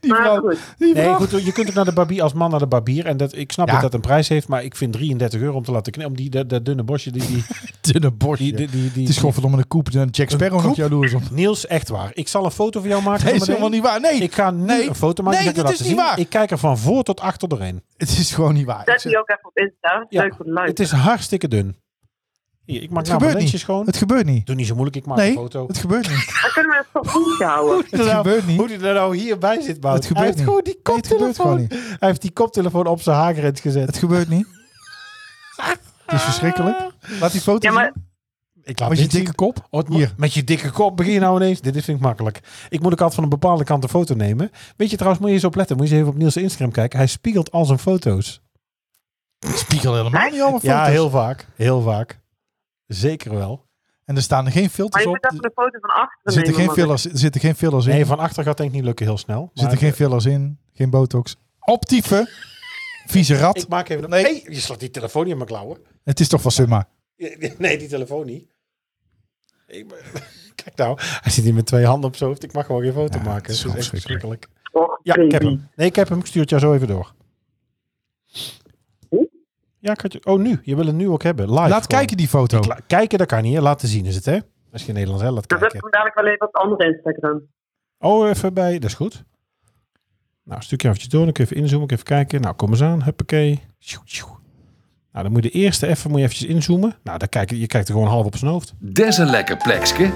Speaker 3: Die
Speaker 4: maar
Speaker 3: vrouw,
Speaker 4: goed.
Speaker 3: die
Speaker 2: Nee,
Speaker 3: vrouw.
Speaker 2: goed, je kunt ook naar de barbier als man naar de barbier. En dat, ik snap
Speaker 3: Ja.
Speaker 2: dat dat een prijs heeft, maar ik vind 33 euro om te laten knippen. Om die, dat, dat dunne bosje, die, die,
Speaker 3: dunne borstje.
Speaker 2: die, die, die, die-
Speaker 3: het is gewoon verdomme een koep. en Jack Sparrow nog
Speaker 2: koep?
Speaker 3: jaloers op.
Speaker 2: Niels, echt waar. Ik zal een foto van jou maken.
Speaker 3: Nee, is
Speaker 2: zometeen.
Speaker 3: helemaal niet waar. Nee,
Speaker 2: Ik ga nu
Speaker 3: Nee.
Speaker 2: een foto maken.
Speaker 3: Nee,
Speaker 2: ik ga
Speaker 3: dat
Speaker 2: je
Speaker 3: is niet
Speaker 2: zien.
Speaker 3: waar.
Speaker 2: Ik kijk er van voor tot achter doorheen.
Speaker 3: het is gewoon niet waar. Ik
Speaker 4: Zet
Speaker 3: zeg-
Speaker 4: die ook even op Insta. Dat is
Speaker 2: Ja,
Speaker 4: Leuk voor de luid.
Speaker 2: Het is hartstikke dun. Hier, ik maak
Speaker 3: Het
Speaker 2: nou mijn
Speaker 3: gebeurt
Speaker 2: lensje
Speaker 3: niet.
Speaker 2: schoon.
Speaker 3: Het gebeurt niet.
Speaker 2: Doe niet zo moeilijk, ik maak een
Speaker 3: Nee,
Speaker 2: foto.
Speaker 3: het gebeurt
Speaker 2: (laughs)
Speaker 3: niet.
Speaker 4: Dan kunnen we het toch goed houden.
Speaker 3: Het gebeurt niet.
Speaker 2: Hoe hij er nou hierbij zit, Bout.
Speaker 3: Het gebeurt
Speaker 2: hij heeft
Speaker 3: niet.
Speaker 2: gewoon die
Speaker 3: Nee, het gebeurt
Speaker 2: koptelefoon. hij heeft die koptelefoon op zijn haakgrens gezet. Ah.
Speaker 3: Het gebeurt
Speaker 2: (laughs)
Speaker 3: niet. Het is verschrikkelijk. Laat die foto
Speaker 4: Ja, maar
Speaker 3: zien.
Speaker 2: Ik laat
Speaker 3: Met je
Speaker 2: niet zien.
Speaker 3: dikke kop.
Speaker 2: Oh, het mo-
Speaker 3: Hier.
Speaker 2: Met je dikke kop begin je nou ineens. Dit is- vind ik makkelijk. Ik moet ook altijd van een bepaalde kant een foto nemen. Weet je trouwens, moet je eens opletten. Moet je eens even op Niels' Instagram kijken. Hij spiegelt al zijn foto's.
Speaker 3: Spiegel helemaal niet allemaal foto's.
Speaker 2: Ja, heel vaak. Heel vaak. Zeker wel.
Speaker 3: En er staan er geen
Speaker 4: maar
Speaker 3: filters
Speaker 4: je
Speaker 3: op.
Speaker 4: moet even een foto van achteren
Speaker 3: Er zitten geen
Speaker 4: nemen, man.
Speaker 3: fillers, er zitten geen fillers in.
Speaker 2: Nee, van achter gaat denk ik niet lukken heel snel.
Speaker 3: er zitten
Speaker 2: Maar-
Speaker 3: geen fillers in. Geen botox. Optieven. Vieze rat.
Speaker 2: Ik maak even... Nee.
Speaker 3: Nee.
Speaker 2: je slaat die telefoon niet in mijn klauwen.
Speaker 3: Het is toch van Summa.
Speaker 2: (laughs) Nee, die telefoon niet. Ik ben- (laughs) Kijk nou, hij zit hier met twee handen op zijn hoofd. Ik mag gewoon geen foto
Speaker 3: Ja,
Speaker 2: maken.
Speaker 3: het is
Speaker 2: Het is echt
Speaker 3: verschrikkelijk.
Speaker 2: verschrikkelijk.
Speaker 4: Och,
Speaker 2: Ja, ik heb
Speaker 4: baby.
Speaker 2: hem. Nee, ik heb hem. Ik stuur het jou zo even door.
Speaker 4: Hoe?
Speaker 2: Ja, ik had je... Oh, nu. Je wil het nu ook hebben. Live.
Speaker 3: Laat
Speaker 2: gewoon.
Speaker 3: kijken die foto.
Speaker 2: Kla- kijken, dat kan niet. hè. Laten zien is het, hè? Dat is geen Nederlands, hè? Laat
Speaker 4: Dan zet ik
Speaker 2: kijken.
Speaker 4: hem dadelijk wel even op het andere Instagram.
Speaker 2: Oh, even bij. Dat is goed. Nou, een stukje eventjes door. Dan kun je even inzoomen. kun je Even kijken. Nou, kom eens aan. Huppakee. Sjoe, sjoe. Nou, dan moet je de eerste even moet je eventjes inzoomen. Nou, dan kijk, je je kijkt er gewoon half op zijn hoofd.
Speaker 1: Des een lekker plekske.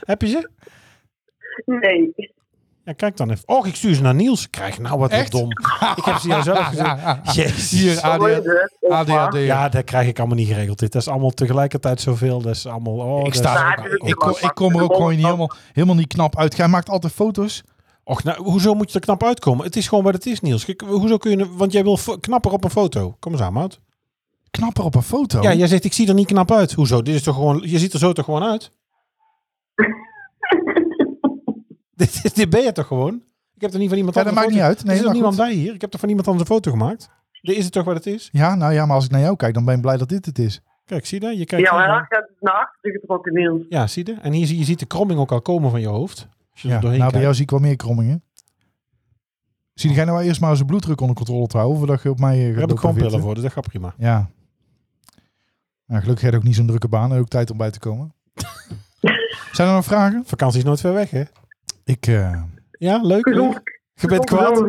Speaker 2: Heb je ze?
Speaker 4: Nee.
Speaker 2: Ja, kijk dan even. Och, ik stuur ze naar Niels. Krijg nou wat
Speaker 3: Echt?
Speaker 2: dom. Ik heb ze jou zelf
Speaker 3: (laughs)
Speaker 2: gezien. Jezus.
Speaker 3: Hier,
Speaker 4: Zo is
Speaker 3: ADHD.
Speaker 4: het. Of waar.
Speaker 2: Ja, dat krijg ik allemaal niet geregeld. Dit is allemaal tegelijkertijd zoveel. Dat is allemaal... Oh,
Speaker 3: Ik,
Speaker 2: dat
Speaker 3: sta
Speaker 2: is-
Speaker 3: er
Speaker 4: Daar
Speaker 3: ook-
Speaker 4: heb
Speaker 3: ik,
Speaker 4: je het
Speaker 3: kom,
Speaker 4: wel.
Speaker 3: ik kom er ook gewoon niet helemaal, helemaal niet knap uit. Hij maakt altijd foto's.
Speaker 2: Och, nou, hoezo moet je er knap uitkomen? Het is gewoon wat het is, Niels. Kijk, hoezo kun je... Want jij wil fo- knapper op een foto. Kom eens aan, maat.
Speaker 3: Knapper op een foto.
Speaker 2: Ja, jij zegt ik zie er niet knap uit. Hoezo? Dit is toch gewoon, je ziet er zo toch gewoon
Speaker 3: (laughs)
Speaker 2: uit? dit, is- dit ben je toch gewoon? Ik heb er niet van iemand
Speaker 3: Ja, dat
Speaker 2: anders
Speaker 3: maakt
Speaker 2: een
Speaker 3: niet uit.
Speaker 2: foto-
Speaker 3: Nee,
Speaker 2: er is er
Speaker 3: maar
Speaker 2: niemand
Speaker 3: goed.
Speaker 2: bij hier. Ik heb er van iemand anders een foto gemaakt. Dit is het toch wat het is?
Speaker 3: Ja, nou ja, maar als ik naar jou kijk, dan ben ik blij dat dit het is.
Speaker 2: Kijk, zie je dat? Je kijkt
Speaker 4: Ja,
Speaker 2: zo
Speaker 4: maar
Speaker 2: van-
Speaker 4: gaat het naar achter getrokken, Niels.
Speaker 2: ja, zie je? En hier zie je ziet de kromming ook al komen van je hoofd. Als je
Speaker 3: Ja,
Speaker 2: er
Speaker 3: nou,
Speaker 2: doorheen
Speaker 3: bij
Speaker 2: kijkt.
Speaker 3: jou zie ik wel meer krommingen. Zie jij nou eerst maar zijn bloeddruk onder controle trouwen, voordat je op mij eh, gaat
Speaker 2: Daar heb ik
Speaker 3: lopen
Speaker 2: gewoon pillen
Speaker 3: witten?
Speaker 2: voor, dus dat gaat prima.
Speaker 3: Ja. Nou, gelukkig heb je ook niet zo'n drukke baan en ook tijd om bij te
Speaker 2: (laughs)
Speaker 3: komen. Zijn er nog vragen?
Speaker 2: Vakantie is nooit ver weg, hè?
Speaker 3: Ik, eh,
Speaker 2: Ja, leuk.
Speaker 4: Gezond.
Speaker 2: leuk. Je bent kwaad.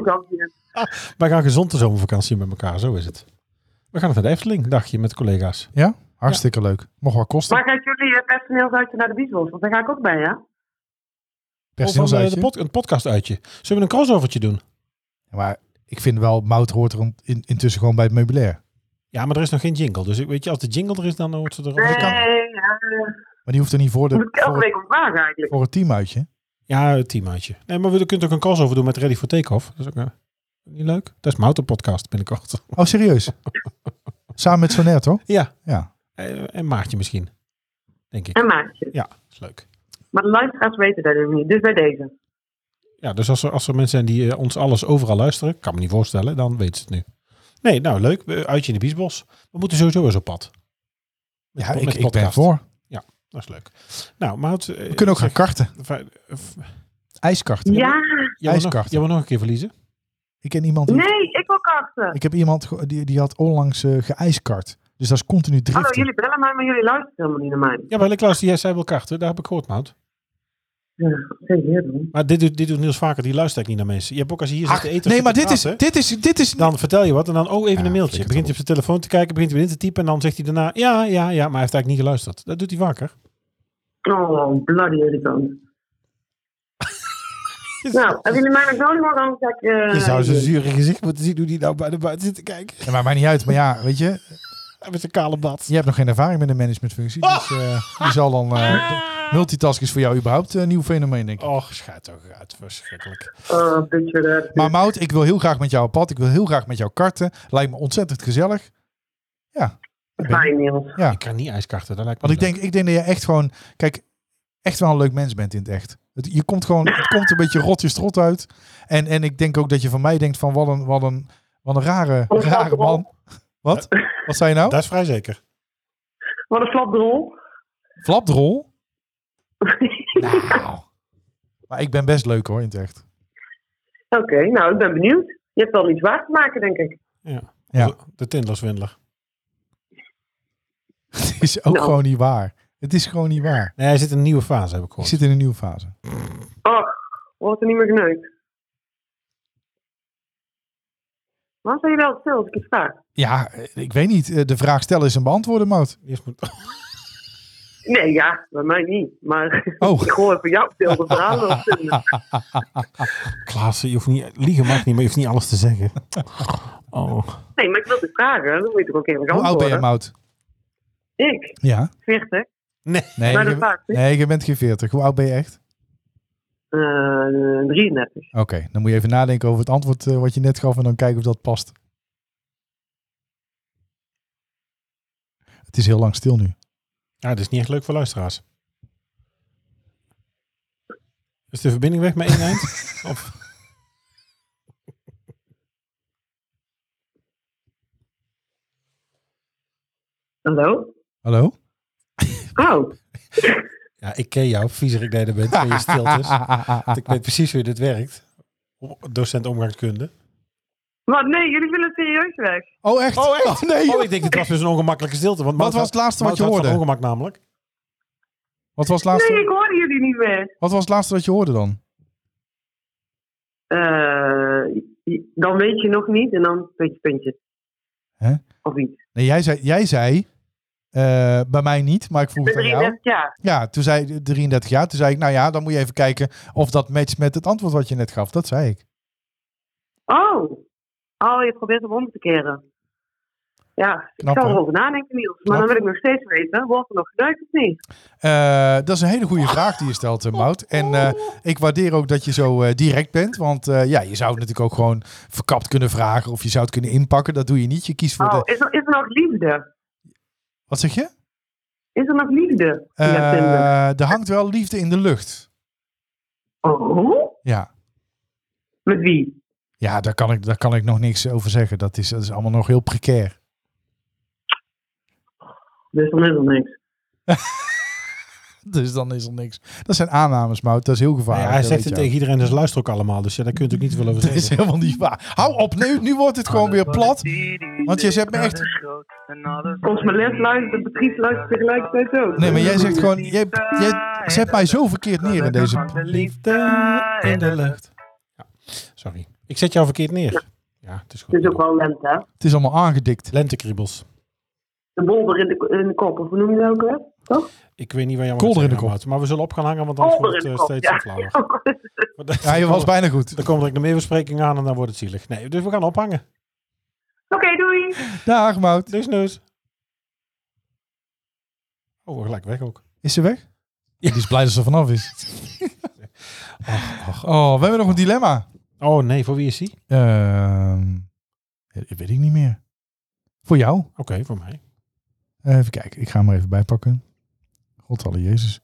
Speaker 2: Wij gaan gezond de zomervakantie met elkaar, zo is het. We gaan naar de Efteling, dagje met collega's.
Speaker 3: ja, hartstikke leuk. Mocht wel kosten.
Speaker 4: Maar gaat jullie eh, personeelsuitje naar de biesbos? Want daar ga ik ook bij, hè?
Speaker 2: Of een, eh,
Speaker 3: Personeelsuitje.
Speaker 2: de pod- een podcast uitje. Zullen we een crossovertje doen?
Speaker 3: Ja, maar ik vind wel, mout hoort er on- in, intussen gewoon bij het meubilair.
Speaker 2: Ja, maar er is nog geen jingle. Dus ik weet je, als de jingle er is, dan wordt ze er...
Speaker 4: Nee,
Speaker 3: kan.
Speaker 4: ja,
Speaker 3: Maar die hoeft er niet voor,
Speaker 4: moet
Speaker 3: de,
Speaker 4: ik elke
Speaker 3: voor,
Speaker 4: week ontwagen eigenlijk.
Speaker 3: voor het teamuitje.
Speaker 2: Ja, het teamuitje. Nee, maar we kunnen ook een crossover doen met Ready for Takeoff. Dat is ook eh, niet leuk. Dat is mijn autopodcast binnenkort. (laughs)
Speaker 3: Oh, serieus? Samen met Soner, toch?
Speaker 2: ja.
Speaker 3: Ja.
Speaker 2: Eh, En Maartje misschien. Denk ik.
Speaker 4: En maatje.
Speaker 2: Ja, is leuk.
Speaker 4: Maar de luisteraars weten dat ook niet. Dus bij deze.
Speaker 2: Ja, dus als er, als er mensen zijn die eh, ons alles overal luisteren, kan me niet voorstellen, dan weten ze het nu. Nee, nou leuk. We- Uitje in de Biesbos. We moeten sowieso eens op pad. Met
Speaker 3: Ja,
Speaker 2: po-
Speaker 3: ik,
Speaker 2: met
Speaker 3: ik ben
Speaker 2: podcast.
Speaker 3: voor.
Speaker 2: Dat is leuk. Nou, maar het,
Speaker 3: We kunnen ook gaan karten. IJskarten.
Speaker 4: Ja,
Speaker 3: ijskarten.
Speaker 2: Jij eh, wil nog een keer verliezen?
Speaker 3: Ik ken iemand die...
Speaker 4: nee, ik wil karten.
Speaker 3: Ik heb iemand ge- die, die had onlangs eh geijskart. Dus dat is continu driften.
Speaker 4: Hallo, Oh, jullie bellen mij, maar jullie luisteren helemaal niet naar mij.
Speaker 2: Ja, wel, ik luister. Jij zei wel karten. Daar heb ik gehoord, Mout.
Speaker 4: Ja, zeker. doen.
Speaker 2: Maar dit doet, dit doet Niels vaker, die luistert eigenlijk niet naar mensen. Je hebt ook als je hier zit
Speaker 3: Ach,
Speaker 2: te eten. of
Speaker 3: nee,
Speaker 2: zit
Speaker 3: maar
Speaker 2: te
Speaker 3: dit is,
Speaker 2: praten,
Speaker 3: dit is... Dit is
Speaker 2: Dan vertel je wat en dan, oh, even
Speaker 3: Ja,
Speaker 2: een mailtje.
Speaker 3: flikker
Speaker 2: Begint hij op
Speaker 3: erop.
Speaker 2: zijn telefoon te kijken, begint hij weer in te typen en dan zegt hij daarna, ja, ja, ja, maar hij heeft eigenlijk niet geluisterd. Dat doet hij vaker.
Speaker 4: Oh, bloody irritant.
Speaker 3: (laughs)
Speaker 4: Nou, hebben jullie mij nog nodig? Want anders ga ik... eh,
Speaker 2: je zou zijn zure gezicht moeten zien hoe die nou bij de buiten zit te kijken. (laughs)
Speaker 3: Ja, maar maakt niet uit. Maar ja, weet je...
Speaker 2: Met zijn kale bad.
Speaker 3: Je hebt nog geen ervaring met een managementfunctie.
Speaker 2: Oh!
Speaker 3: Dus eh, die zal dan... eh multitasking is voor jou überhaupt eh, een nieuw fenomeen, denk ik.
Speaker 2: Och, schijt toch uit. Verschrikkelijk.
Speaker 4: Oh, picture that.
Speaker 3: Maar Mout, ik wil heel graag met jou op pad. Ik wil heel graag met jou karten. Lijkt me ontzettend gezellig.
Speaker 4: Fijn, Niels.
Speaker 3: Ja.
Speaker 2: Ik kan niet ijskarten, dat lijkt me
Speaker 3: Want ik
Speaker 2: leuk.
Speaker 3: denk, ik denk dat je echt gewoon... Kijk, echt wel een leuk mens bent in het echt. Het, je komt gewoon... Het komt een beetje rot je strot uit. En, en ik denk ook dat je van mij denkt van... Wat een, wat een, wat een rare,
Speaker 4: Wat een
Speaker 3: rare man. Wat? Wat zei je nou?
Speaker 2: Dat is vrij zeker.
Speaker 4: Wat een flapdrol.
Speaker 3: Flapdrol? Nou. Maar ik ben best leuk hoor, in het echt.
Speaker 4: (laughs)
Speaker 3: (laughs)
Speaker 4: Oké, nou, ik ben benieuwd. Je hebt wel iets waar te maken, denk ik.
Speaker 2: Ja.
Speaker 3: Ja.
Speaker 2: De Tinderswindler.
Speaker 3: Het is ook
Speaker 4: Nou.
Speaker 3: gewoon niet waar. Het is gewoon niet waar.
Speaker 2: Nee, hij zit in een nieuwe fase, heb ik
Speaker 3: Ik
Speaker 2: gehoord.
Speaker 3: zit in een nieuwe fase.
Speaker 4: Och, wordt er niet meer geneukt. Waarom zijn jullie wel stil als ik het vraag?
Speaker 3: Ja, eh, ik weet niet. eh, De vraag stellen is een beantwoorden, Mout.
Speaker 2: Eerst moet... (laughs)
Speaker 4: Nee, ja, bij mij niet. Maar (laughs)
Speaker 3: Oh.
Speaker 4: ik hoor van jou stil de
Speaker 3: (laughs)
Speaker 4: verhalen. wel stil.
Speaker 2: Klaas, je hoeft niet... Liegen mag niet, maar je hoeft niet alles te (laughs) zeggen. Oh.
Speaker 4: Nee, maar ik wil het vragen. Dan moet je toch ook even
Speaker 3: Hoe oud ben je,
Speaker 4: antwoorden.
Speaker 3: Mout?
Speaker 4: Ik,
Speaker 3: Ja.
Speaker 4: 40.
Speaker 3: Nee,
Speaker 4: Maar dat
Speaker 3: je,
Speaker 4: maakt niet.
Speaker 3: nee, je bent geen 40. Hoe oud ben je echt?
Speaker 4: eh 33.
Speaker 3: Oké, dan moet je even nadenken over het antwoord eh, wat je net gaf en dan kijken of dat past. Het is heel lang stil nu.
Speaker 2: Ja, dat is niet echt leuk voor luisteraars. Is de verbinding weg met één eind? Of,
Speaker 4: Hallo?
Speaker 3: Hallo?
Speaker 4: Oh,
Speaker 2: ja, ik ken jou, viezerik dat je er bent, van je
Speaker 3: Dus-
Speaker 2: stiltes.
Speaker 3: Ah,
Speaker 2: Want ik weet precies hoe dit werkt. O- Docent omgangskunde.
Speaker 4: wat? Nee, jullie willen serieus weg.
Speaker 3: Oh, echt?
Speaker 2: Oh, echt?
Speaker 3: nee. joh.
Speaker 2: Oh, ik denk, dit was dus een ongemakkelijke stilte. Want
Speaker 3: Wat was het laatste wat je hoorde?
Speaker 2: ongemak namelijk.
Speaker 3: Wat was, het
Speaker 4: Nee, ik
Speaker 3: laatste,
Speaker 4: hoor jullie niet meer.
Speaker 3: wat was het laatste wat je hoorde dan?
Speaker 4: Eh, dan weet je nog niet en dan puntje, puntje.
Speaker 3: Hè?
Speaker 4: Of iets.
Speaker 3: Nee, jij zei, jij zei eh, bij mij niet, maar ik vroeg
Speaker 4: Met
Speaker 3: het aan jou.
Speaker 4: 33 jaar.
Speaker 3: Ja, toen zei je 33 jaar. Toen zei ik, nou ja, dan moet je even kijken of dat matcht met het antwoord wat je net gaf. Dat zei ik.
Speaker 4: Oh. Oh, je probeert hem om te keren. Ja, ik
Speaker 3: Knap,
Speaker 4: zal
Speaker 3: hè?
Speaker 4: erover nadenken, Niels. Maar
Speaker 3: Knap.
Speaker 4: dan wil ik nog steeds weten, wordt er nog geduikt of niet?
Speaker 3: Eh, dat is een hele goede vraag die je stelt, eh, Mout. En eh, ik waardeer ook dat je zo eh, direct bent. Want eh, ja, je zou het natuurlijk ook gewoon verkapt kunnen vragen. Of je zou het kunnen inpakken. Dat doe je niet. Je kiest voor
Speaker 4: Oh,
Speaker 3: de...
Speaker 4: is er, is er nog liefde?
Speaker 3: Wat zeg je?
Speaker 4: Is er nog liefde?
Speaker 3: Eh
Speaker 4: Ja, Tinder.
Speaker 3: er hangt wel liefde in de lucht.
Speaker 4: Oh,
Speaker 3: Ja.
Speaker 4: Met wie?
Speaker 3: Ja, daar kan ik, daar kan ik nog niks over zeggen. Dat is, dat is allemaal nog heel precair.
Speaker 4: Dus dan is er niks.
Speaker 3: Dus dan is er niks. Dat zijn aannames, Mout. Dat is heel
Speaker 2: Nou
Speaker 3: gevaarlijk.
Speaker 2: ja, hij
Speaker 3: dat
Speaker 2: zegt
Speaker 3: weet
Speaker 2: het
Speaker 3: je
Speaker 2: tegen iedereen, dus luister ook allemaal. Dus ja, daar kun je natuurlijk niet veel over
Speaker 3: ook. (laughs) Dat (laughs) is
Speaker 2: zeggen.
Speaker 3: helemaal niet waar. Hou op, nu, nu wordt het gewoon weer plat. Want je zet me echt...
Speaker 4: Consument luistert, bedrijf luistert tegelijkertijd ook.
Speaker 3: Nee, maar jij zegt gewoon... Jij, jij zet mij zo verkeerd neer in deze...
Speaker 2: Liefde in de lucht. Ja, sorry. Ik zet jou verkeerd neer. Ja, het is goed.
Speaker 4: Het is ook wel lente, hè?
Speaker 3: Het is allemaal aangedikt.
Speaker 2: Lentekriebels.
Speaker 4: De bolder in de, in de kop, of hoe noem je dat ook, hè? Toch?
Speaker 2: Ik weet niet waar jij
Speaker 3: Kolder
Speaker 2: het
Speaker 3: in de
Speaker 2: zeggen houdt, Maar we zullen op gaan hangen, want anders
Speaker 4: Bolder
Speaker 2: wordt het
Speaker 4: in de
Speaker 2: eh,
Speaker 4: kop,
Speaker 2: steeds
Speaker 4: ja.
Speaker 2: flauwer. Maar dat-
Speaker 3: Ja, je was bijna goed.
Speaker 2: Dan komt er nog meer bespreking aan en dan wordt het zielig. Nee, dus we gaan ophangen.
Speaker 4: (laughs) Oké, doei!
Speaker 3: Dag, Mout.
Speaker 2: Dus neus. Oh, gelijk weg ook.
Speaker 3: Is ze weg? Die is blij dat ze er vanaf is.
Speaker 2: Ach, ach.
Speaker 3: Oh, we hebben nog een dilemma.
Speaker 2: Oh nee, voor wie is die?
Speaker 3: Ehm, ja, dat weet ik niet meer. Voor jou?
Speaker 2: Oké, voor mij.
Speaker 3: Eh, even kijken. Ik ga hem er even bij pakken. God alle Jezus.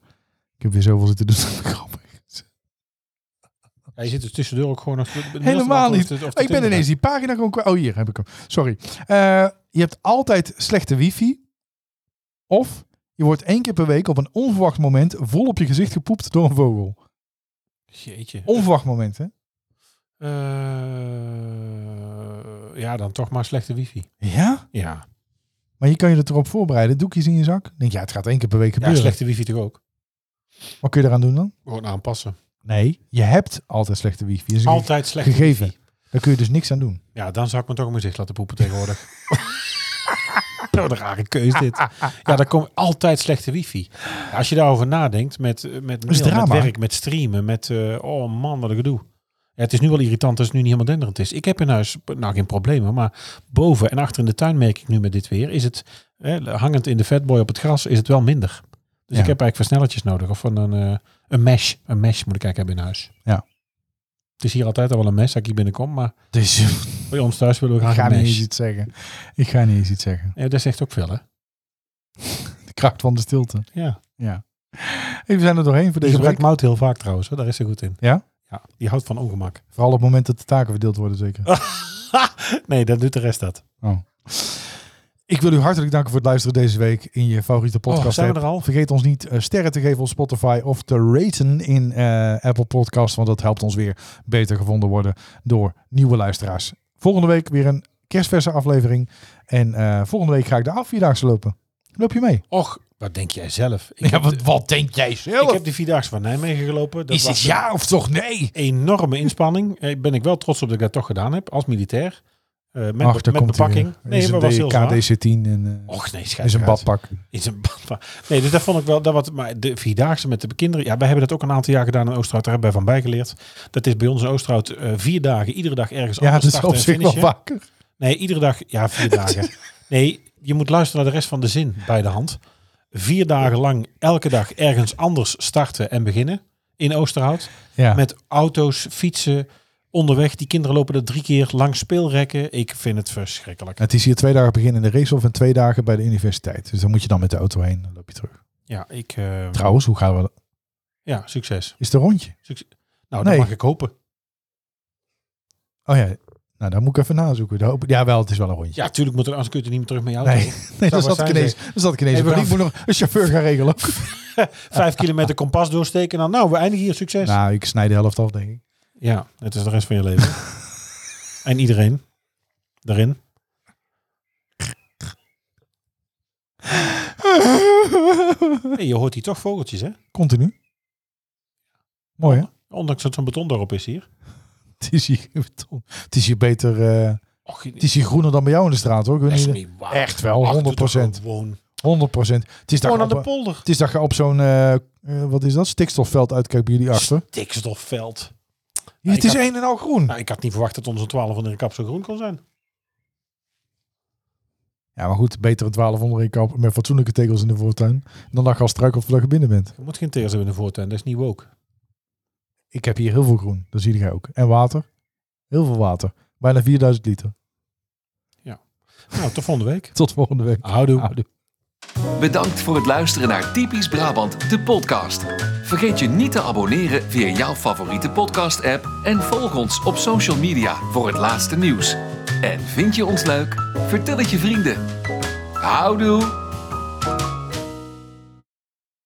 Speaker 3: Ik heb weer zoveel zitten doen. (laughs) Grappig.
Speaker 2: Ja, je zit dus tussendoor ook gewoon... Of, de- de-
Speaker 3: Helemaal
Speaker 2: of de-
Speaker 3: niet.
Speaker 2: of de- of de
Speaker 3: Ik ben ineens die pagina gewoon kwijt. Oh, hier heb ik hem. Sorry. Eh, je hebt altijd slechte wifi. Of je wordt één keer per week op een onverwacht moment vol op je gezicht gepoept door een vogel.
Speaker 2: Jeetje.
Speaker 3: Onverwacht moment, hè?
Speaker 2: Eh, ja, dan toch maar slechte wifi.
Speaker 3: Ja?
Speaker 2: Ja,
Speaker 3: Maar je kan je er toch op voorbereiden. Doekjes in je zak. Denk, ja, het gaat één keer per week
Speaker 2: ja
Speaker 3: gebeuren.
Speaker 2: slechte wifi toch ook?
Speaker 3: Wat kun je eraan doen dan?
Speaker 2: Gewoon aanpassen.
Speaker 3: Nee, je hebt altijd slechte wifi. Dat is een
Speaker 2: Altijd slechte
Speaker 3: Gegeven.
Speaker 2: wifi.
Speaker 3: Daar kun je dus niks aan doen.
Speaker 2: Ja, dan zou ik me toch in mijn zicht laten poepen tegenwoordig. (laughs) Wat een rare keus dit. Ja, daar komt altijd slechte wifi. Ja, Als je daarover nadenkt, met, eh, met,
Speaker 3: is
Speaker 2: mail, met
Speaker 3: drama.
Speaker 2: werk, met streamen, met... eh, oh man, wat een gedoe. Ja, het is nu wel irritant als het nu niet helemaal denderend is. Ik heb in huis, nou geen problemen, maar boven en achter in de tuin merk ik nu met dit weer, is het, eh, hangend in de fatboy op het gras, is het wel minder. Dus
Speaker 3: Ja.
Speaker 2: ik heb eigenlijk versnellertjes nodig. Of van een, eh, een mesh. Een mesh moet ik eigenlijk hebben in huis.
Speaker 3: Ja.
Speaker 2: Het is hier altijd al wel een mesh dat ik hier binnenkom, maar
Speaker 3: Dus (laughs)
Speaker 2: bij ons thuis willen we
Speaker 3: Ik
Speaker 2: graag
Speaker 3: ga
Speaker 2: een
Speaker 3: niet eens
Speaker 2: mesh.
Speaker 3: iets zeggen. Ik ga niet eens iets zeggen.
Speaker 2: Ja, dat zegt ook veel, hè?
Speaker 3: De kracht van de stilte.
Speaker 2: Ja.
Speaker 3: Hey, we zijn er
Speaker 2: Die
Speaker 3: doorheen voor deze week.
Speaker 2: gebruikt mout heel vaak trouwens, hè? daar is ze goed in.
Speaker 3: Ja?
Speaker 2: Ja, die houdt van
Speaker 3: (laughs)
Speaker 2: ongemak.
Speaker 3: Vooral op het moment dat de taken verdeeld worden, zeker.
Speaker 2: nee, dat doet de rest dat.
Speaker 3: Ik wil u hartelijk danken voor het luisteren deze week in je favoriete podcast.
Speaker 2: Oh, zijn we
Speaker 3: app.
Speaker 2: er al?
Speaker 3: Vergeet ons niet eh, sterren te geven op Spotify of te raten in eh, Apple Podcasts, want dat helpt ons weer beter gevonden worden door nieuwe luisteraars. Volgende week weer een kerstverse aflevering. En eh, volgende week ga ik de afvierdaagse lopen. Loop je mee?
Speaker 2: Och, wat denk jij zelf? Ik, heb, de-
Speaker 3: denk jij zelf?
Speaker 2: ik heb de Vierdaagse van Nijmegen gelopen. Dat
Speaker 3: Is het
Speaker 2: was een
Speaker 3: ja of toch nee?
Speaker 2: enorme inspanning. Eh, ben ik wel trots op dat ik dat toch gedaan heb, als militair. Eh, met
Speaker 3: Ach,
Speaker 2: be-
Speaker 3: daar
Speaker 2: met
Speaker 3: komt hij
Speaker 2: bepakking.
Speaker 3: weer. Is
Speaker 2: Nee, maar was heel zwaar.
Speaker 3: een KDC-10 en eh
Speaker 2: Och nee, schijt
Speaker 3: is een
Speaker 2: eruit.
Speaker 3: badpak.
Speaker 2: In zijn bamba. Nee, dus dat vond ik wel. Dat wat, maar de vierdaagse met de kinderen. Ja, wij hebben dat ook een aantal jaar gedaan in Oosterhout. Daar hebben wij van bijgeleerd. Dat is bij ons in Oosterhout eh, vier dagen. Iedere dag ergens
Speaker 3: Ja, dat
Speaker 2: anders
Speaker 3: is
Speaker 2: starten
Speaker 3: op
Speaker 2: en
Speaker 3: zich wel
Speaker 2: finishen.
Speaker 3: vaker.
Speaker 2: Nee, iedere dag. Ja,
Speaker 3: (laughs)
Speaker 2: vier dagen. Nee, je moet luisteren naar de rest van de zin bij de hand. Vier dagen lang, elke dag ergens anders starten en beginnen in Oosterhout.
Speaker 3: Ja.
Speaker 2: Met auto's, fietsen, onderweg. Die kinderen lopen er drie keer langs speelrekken. Ik vind het verschrikkelijk.
Speaker 3: Het is hier twee dagen beginnen in de racehof en twee dagen bij de universiteit. Dus dan moet je dan met de auto heen. Dan loop je terug.
Speaker 2: Ja, ik. eh,
Speaker 3: Trouwens, hoe gaan we?
Speaker 2: ja, succes.
Speaker 3: Is het een rondje?
Speaker 2: Succes. Nou,
Speaker 3: Nee.
Speaker 2: dat mag ik hopen.
Speaker 3: Oh ja, nou daar moet ik even nazoeken. Daar hoop ik- Ja, wel, het is wel een rondje.
Speaker 2: Ja, tuurlijk moet er, anders kun je er niet meer terug met je auto.
Speaker 3: Nee, nee dan,
Speaker 2: wat
Speaker 3: zat ik
Speaker 2: zijn
Speaker 3: ineens, dan zat ik ineens.
Speaker 2: Hey, we
Speaker 3: maar ik moet
Speaker 2: gaan-
Speaker 3: nog een chauffeur gaan
Speaker 2: (laughs)
Speaker 3: regelen. (laughs)
Speaker 2: Vijf kilometer kompas doorsteken. en Dan, nou, we eindigen hier. Succes.
Speaker 3: nou, ik snijd de helft af, denk ik.
Speaker 2: Ja, het is de rest van je
Speaker 3: (laughs)
Speaker 2: leven. en iedereen daarin. Hey, je hoort hier toch vogeltjes, hè?
Speaker 3: Continu. Mooi, hè?
Speaker 2: Ondanks dat zo'n beton daarop is hier.
Speaker 3: Het is hier, het is hier beter... eh,
Speaker 2: Och,
Speaker 3: het is hier groener dan bij jou in de straat, hoor. Ik weet
Speaker 2: dat is
Speaker 3: niet-
Speaker 2: niet waar.
Speaker 3: Echt wel,
Speaker 2: Ach, doe
Speaker 3: 100%.
Speaker 2: toch Gewoon,
Speaker 3: 100 Het is,
Speaker 2: gewoon
Speaker 3: daar
Speaker 2: aan de
Speaker 3: op, eh,
Speaker 2: polder.
Speaker 3: het is dat je op zo'n, eh, eh, wat is dat, stikstofveld uitkijkt bij jullie achter.
Speaker 2: Stikstofveld.
Speaker 3: Hier,
Speaker 2: ik
Speaker 3: het is
Speaker 2: had-
Speaker 3: een en al groen.
Speaker 2: Nou, ik had niet verwacht dat onze 1200 kap zo groen kon zijn.
Speaker 3: Ja, maar goed, beter een 12 onder een kap met fatsoenlijke tegels in de voortuin. Dan dat je al struikelt voordat je binnen bent.
Speaker 2: Je moet geen teers hebben in de voortuin, dat is niet woke.
Speaker 3: Ik heb hier heel veel groen, dat zie je ook. En water. Heel veel water. Bijna 4000 liter.
Speaker 2: Nou, tot volgende week.
Speaker 3: Tot volgende
Speaker 2: Ah,
Speaker 3: week.
Speaker 2: Houdoe.
Speaker 3: Houdoe.
Speaker 1: Bedankt voor het luisteren naar Typisch Brabant, de podcast. Vergeet je niet te abonneren via jouw favoriete podcast-app en volg ons op social media voor het laatste nieuws. En vind je ons leuk? Vertel het je vrienden. Houdoe!